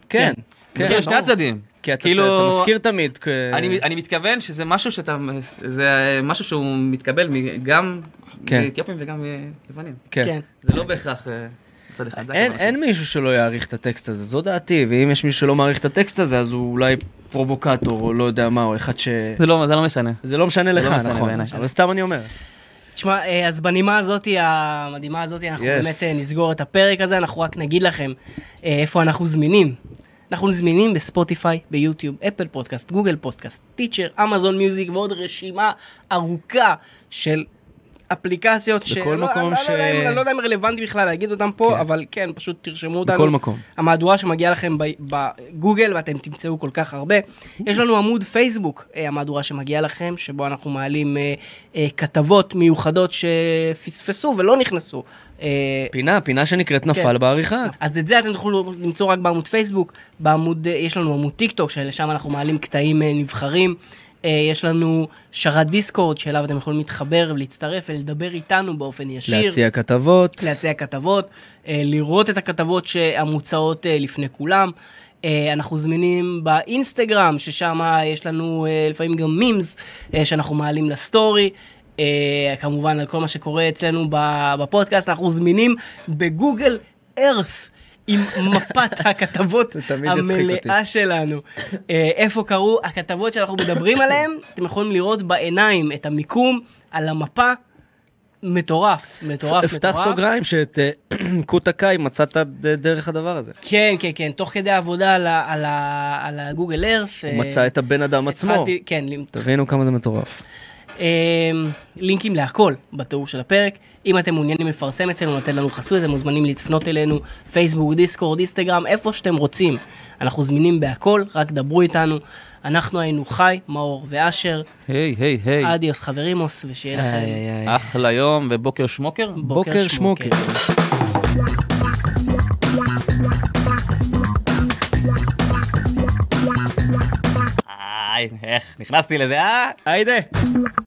[SPEAKER 1] כן,
[SPEAKER 3] כן,
[SPEAKER 1] כן,
[SPEAKER 3] לשני הצדדים.
[SPEAKER 1] כי אתה-
[SPEAKER 3] כאילו,
[SPEAKER 1] אתה מזכיר תמיד, כ-
[SPEAKER 3] אני, אני מתכוון שזה משהו שאתה, זה משהו שהוא מתקבל מ- גם
[SPEAKER 1] כן.
[SPEAKER 3] מאתיופים וגם מיוונים.
[SPEAKER 1] כן.
[SPEAKER 2] כן.
[SPEAKER 3] זה לא בהכרח אה, צד אחד. זה
[SPEAKER 1] אין,
[SPEAKER 3] הדבר
[SPEAKER 1] אין מישהו שלא יעריך את הטקסט הזה, זו דעתי, ואם יש מישהו שלא מעריך את הטקסט הזה, אז הוא אולי פרובוקטור, או לא יודע מה, או אחד ש...
[SPEAKER 3] הכי- זה לא, זה לא משנה.
[SPEAKER 1] זה לא משנה לך,
[SPEAKER 3] לא משנה
[SPEAKER 1] נכון,
[SPEAKER 3] בעיניי.
[SPEAKER 1] אבל סתם אני אומר.
[SPEAKER 2] תשמע, אה, אז בנימה הזאת, המדהימה הזאת, אנחנו yes.
[SPEAKER 1] Yes.
[SPEAKER 2] באמת אה, נסגור את הפרק הזה, אנחנו רק נגיד לכם אה, איפה אנחנו זמינים. אנחנו זמינים בספוטיפיי, ביוטיוב, אפל פודקאסט, גוגל פודקאסט, טיצ'ר, אמזון מיוזיק ועוד רשימה ארוכה של אפליקציות
[SPEAKER 1] בכל מקום
[SPEAKER 2] אני,
[SPEAKER 1] ש-
[SPEAKER 2] לא, יודע אם- אני לא יודע אם רלוונטי בכלל להגיד אותם פה, כן. אבל כן, פשוט תרשמו אותנו.
[SPEAKER 1] בכל מקום.
[SPEAKER 2] המהדורה שמגיעה לכם ב- בגוגל, ואתם תמצאו כל כך הרבה. יש לנו עמוד פייסבוק, אה, המהדורה שמגיעה לכם, שבו אנחנו מעלים אה, אה, כתבות מיוחדות שפספסו ולא נכנסו. אה,
[SPEAKER 1] פינה, פינה שנקראת נפל
[SPEAKER 2] כן.
[SPEAKER 1] בעריכה.
[SPEAKER 2] אז את זה אתם תוכלו למצוא רק בעמוד פייסבוק, בעמוד, אה, יש לנו עמוד טיק טוק, שלשם אנחנו מעלים קטעים אה, נבחרים. אה, יש לנו שרת דיסקורד, שאליו אתם יכולים להתחבר ולהצטרף ולדבר איתנו באופן ישיר.
[SPEAKER 1] להציע כתבות.
[SPEAKER 3] כן,
[SPEAKER 2] להציע כתבות, אה, לראות את הכתבות המוצעות אה, לפני כולם. אה, אנחנו זמינים באינסטגרם, ששם יש לנו אה, לפעמים גם מימס אה, שאנחנו מעלים לסטורי. אה, כמובן על כל מה שקורה אצלנו ב- בפודקאסט, אנחנו זמינים בגוגל ארת' עם
[SPEAKER 1] *laughs*
[SPEAKER 2] מפת הכתבות
[SPEAKER 1] זה תמיד יצחיק אותי.
[SPEAKER 2] המלאה שלנו. אה, איפה קרו הכתבות שאנחנו מדברים עליהן, אתם יכולים לראות בעיניים את המיקום על המפה. מטורף, מטורף, מטורף.
[SPEAKER 1] אפתח סוגריים שאת אה, *clears throat* קוטה קאי מצאת ד- דרך הדבר הזה.
[SPEAKER 2] כן, כן, כן, תוך כדי עבודה על, ה, על, ה, על הגוגל ארף.
[SPEAKER 3] אה,
[SPEAKER 1] הוא מצא את הבן אדם עצמו.
[SPEAKER 2] כן, ל-
[SPEAKER 1] תבינו כמה זה מטורף.
[SPEAKER 2] אמ, לינקים להכל בתיאור של הפרק. אם אתם מעוניינים לפרסם אצלנו, לתת לנו חסות, אתם מוזמנים לפנות אלינו, פייסבוק, דיסקורד, איסטגרם, איפה שאתם רוצים. אנחנו זמינים בהכל, רק דברו איתנו. אנחנו היינו חי, מאור ואשר.
[SPEAKER 3] היי, היי, היי.
[SPEAKER 2] אדיוס חברימוס, ושיהיה
[SPEAKER 3] אה,
[SPEAKER 2] לכם
[SPEAKER 1] אה.
[SPEAKER 3] אחלה יום ובוקר שמוקר.
[SPEAKER 1] בוקר
[SPEAKER 2] בוקר
[SPEAKER 1] שמוקר.
[SPEAKER 2] שמוקר.
[SPEAKER 3] איי, איך נכנסתי לזה, אה?
[SPEAKER 1] היידה.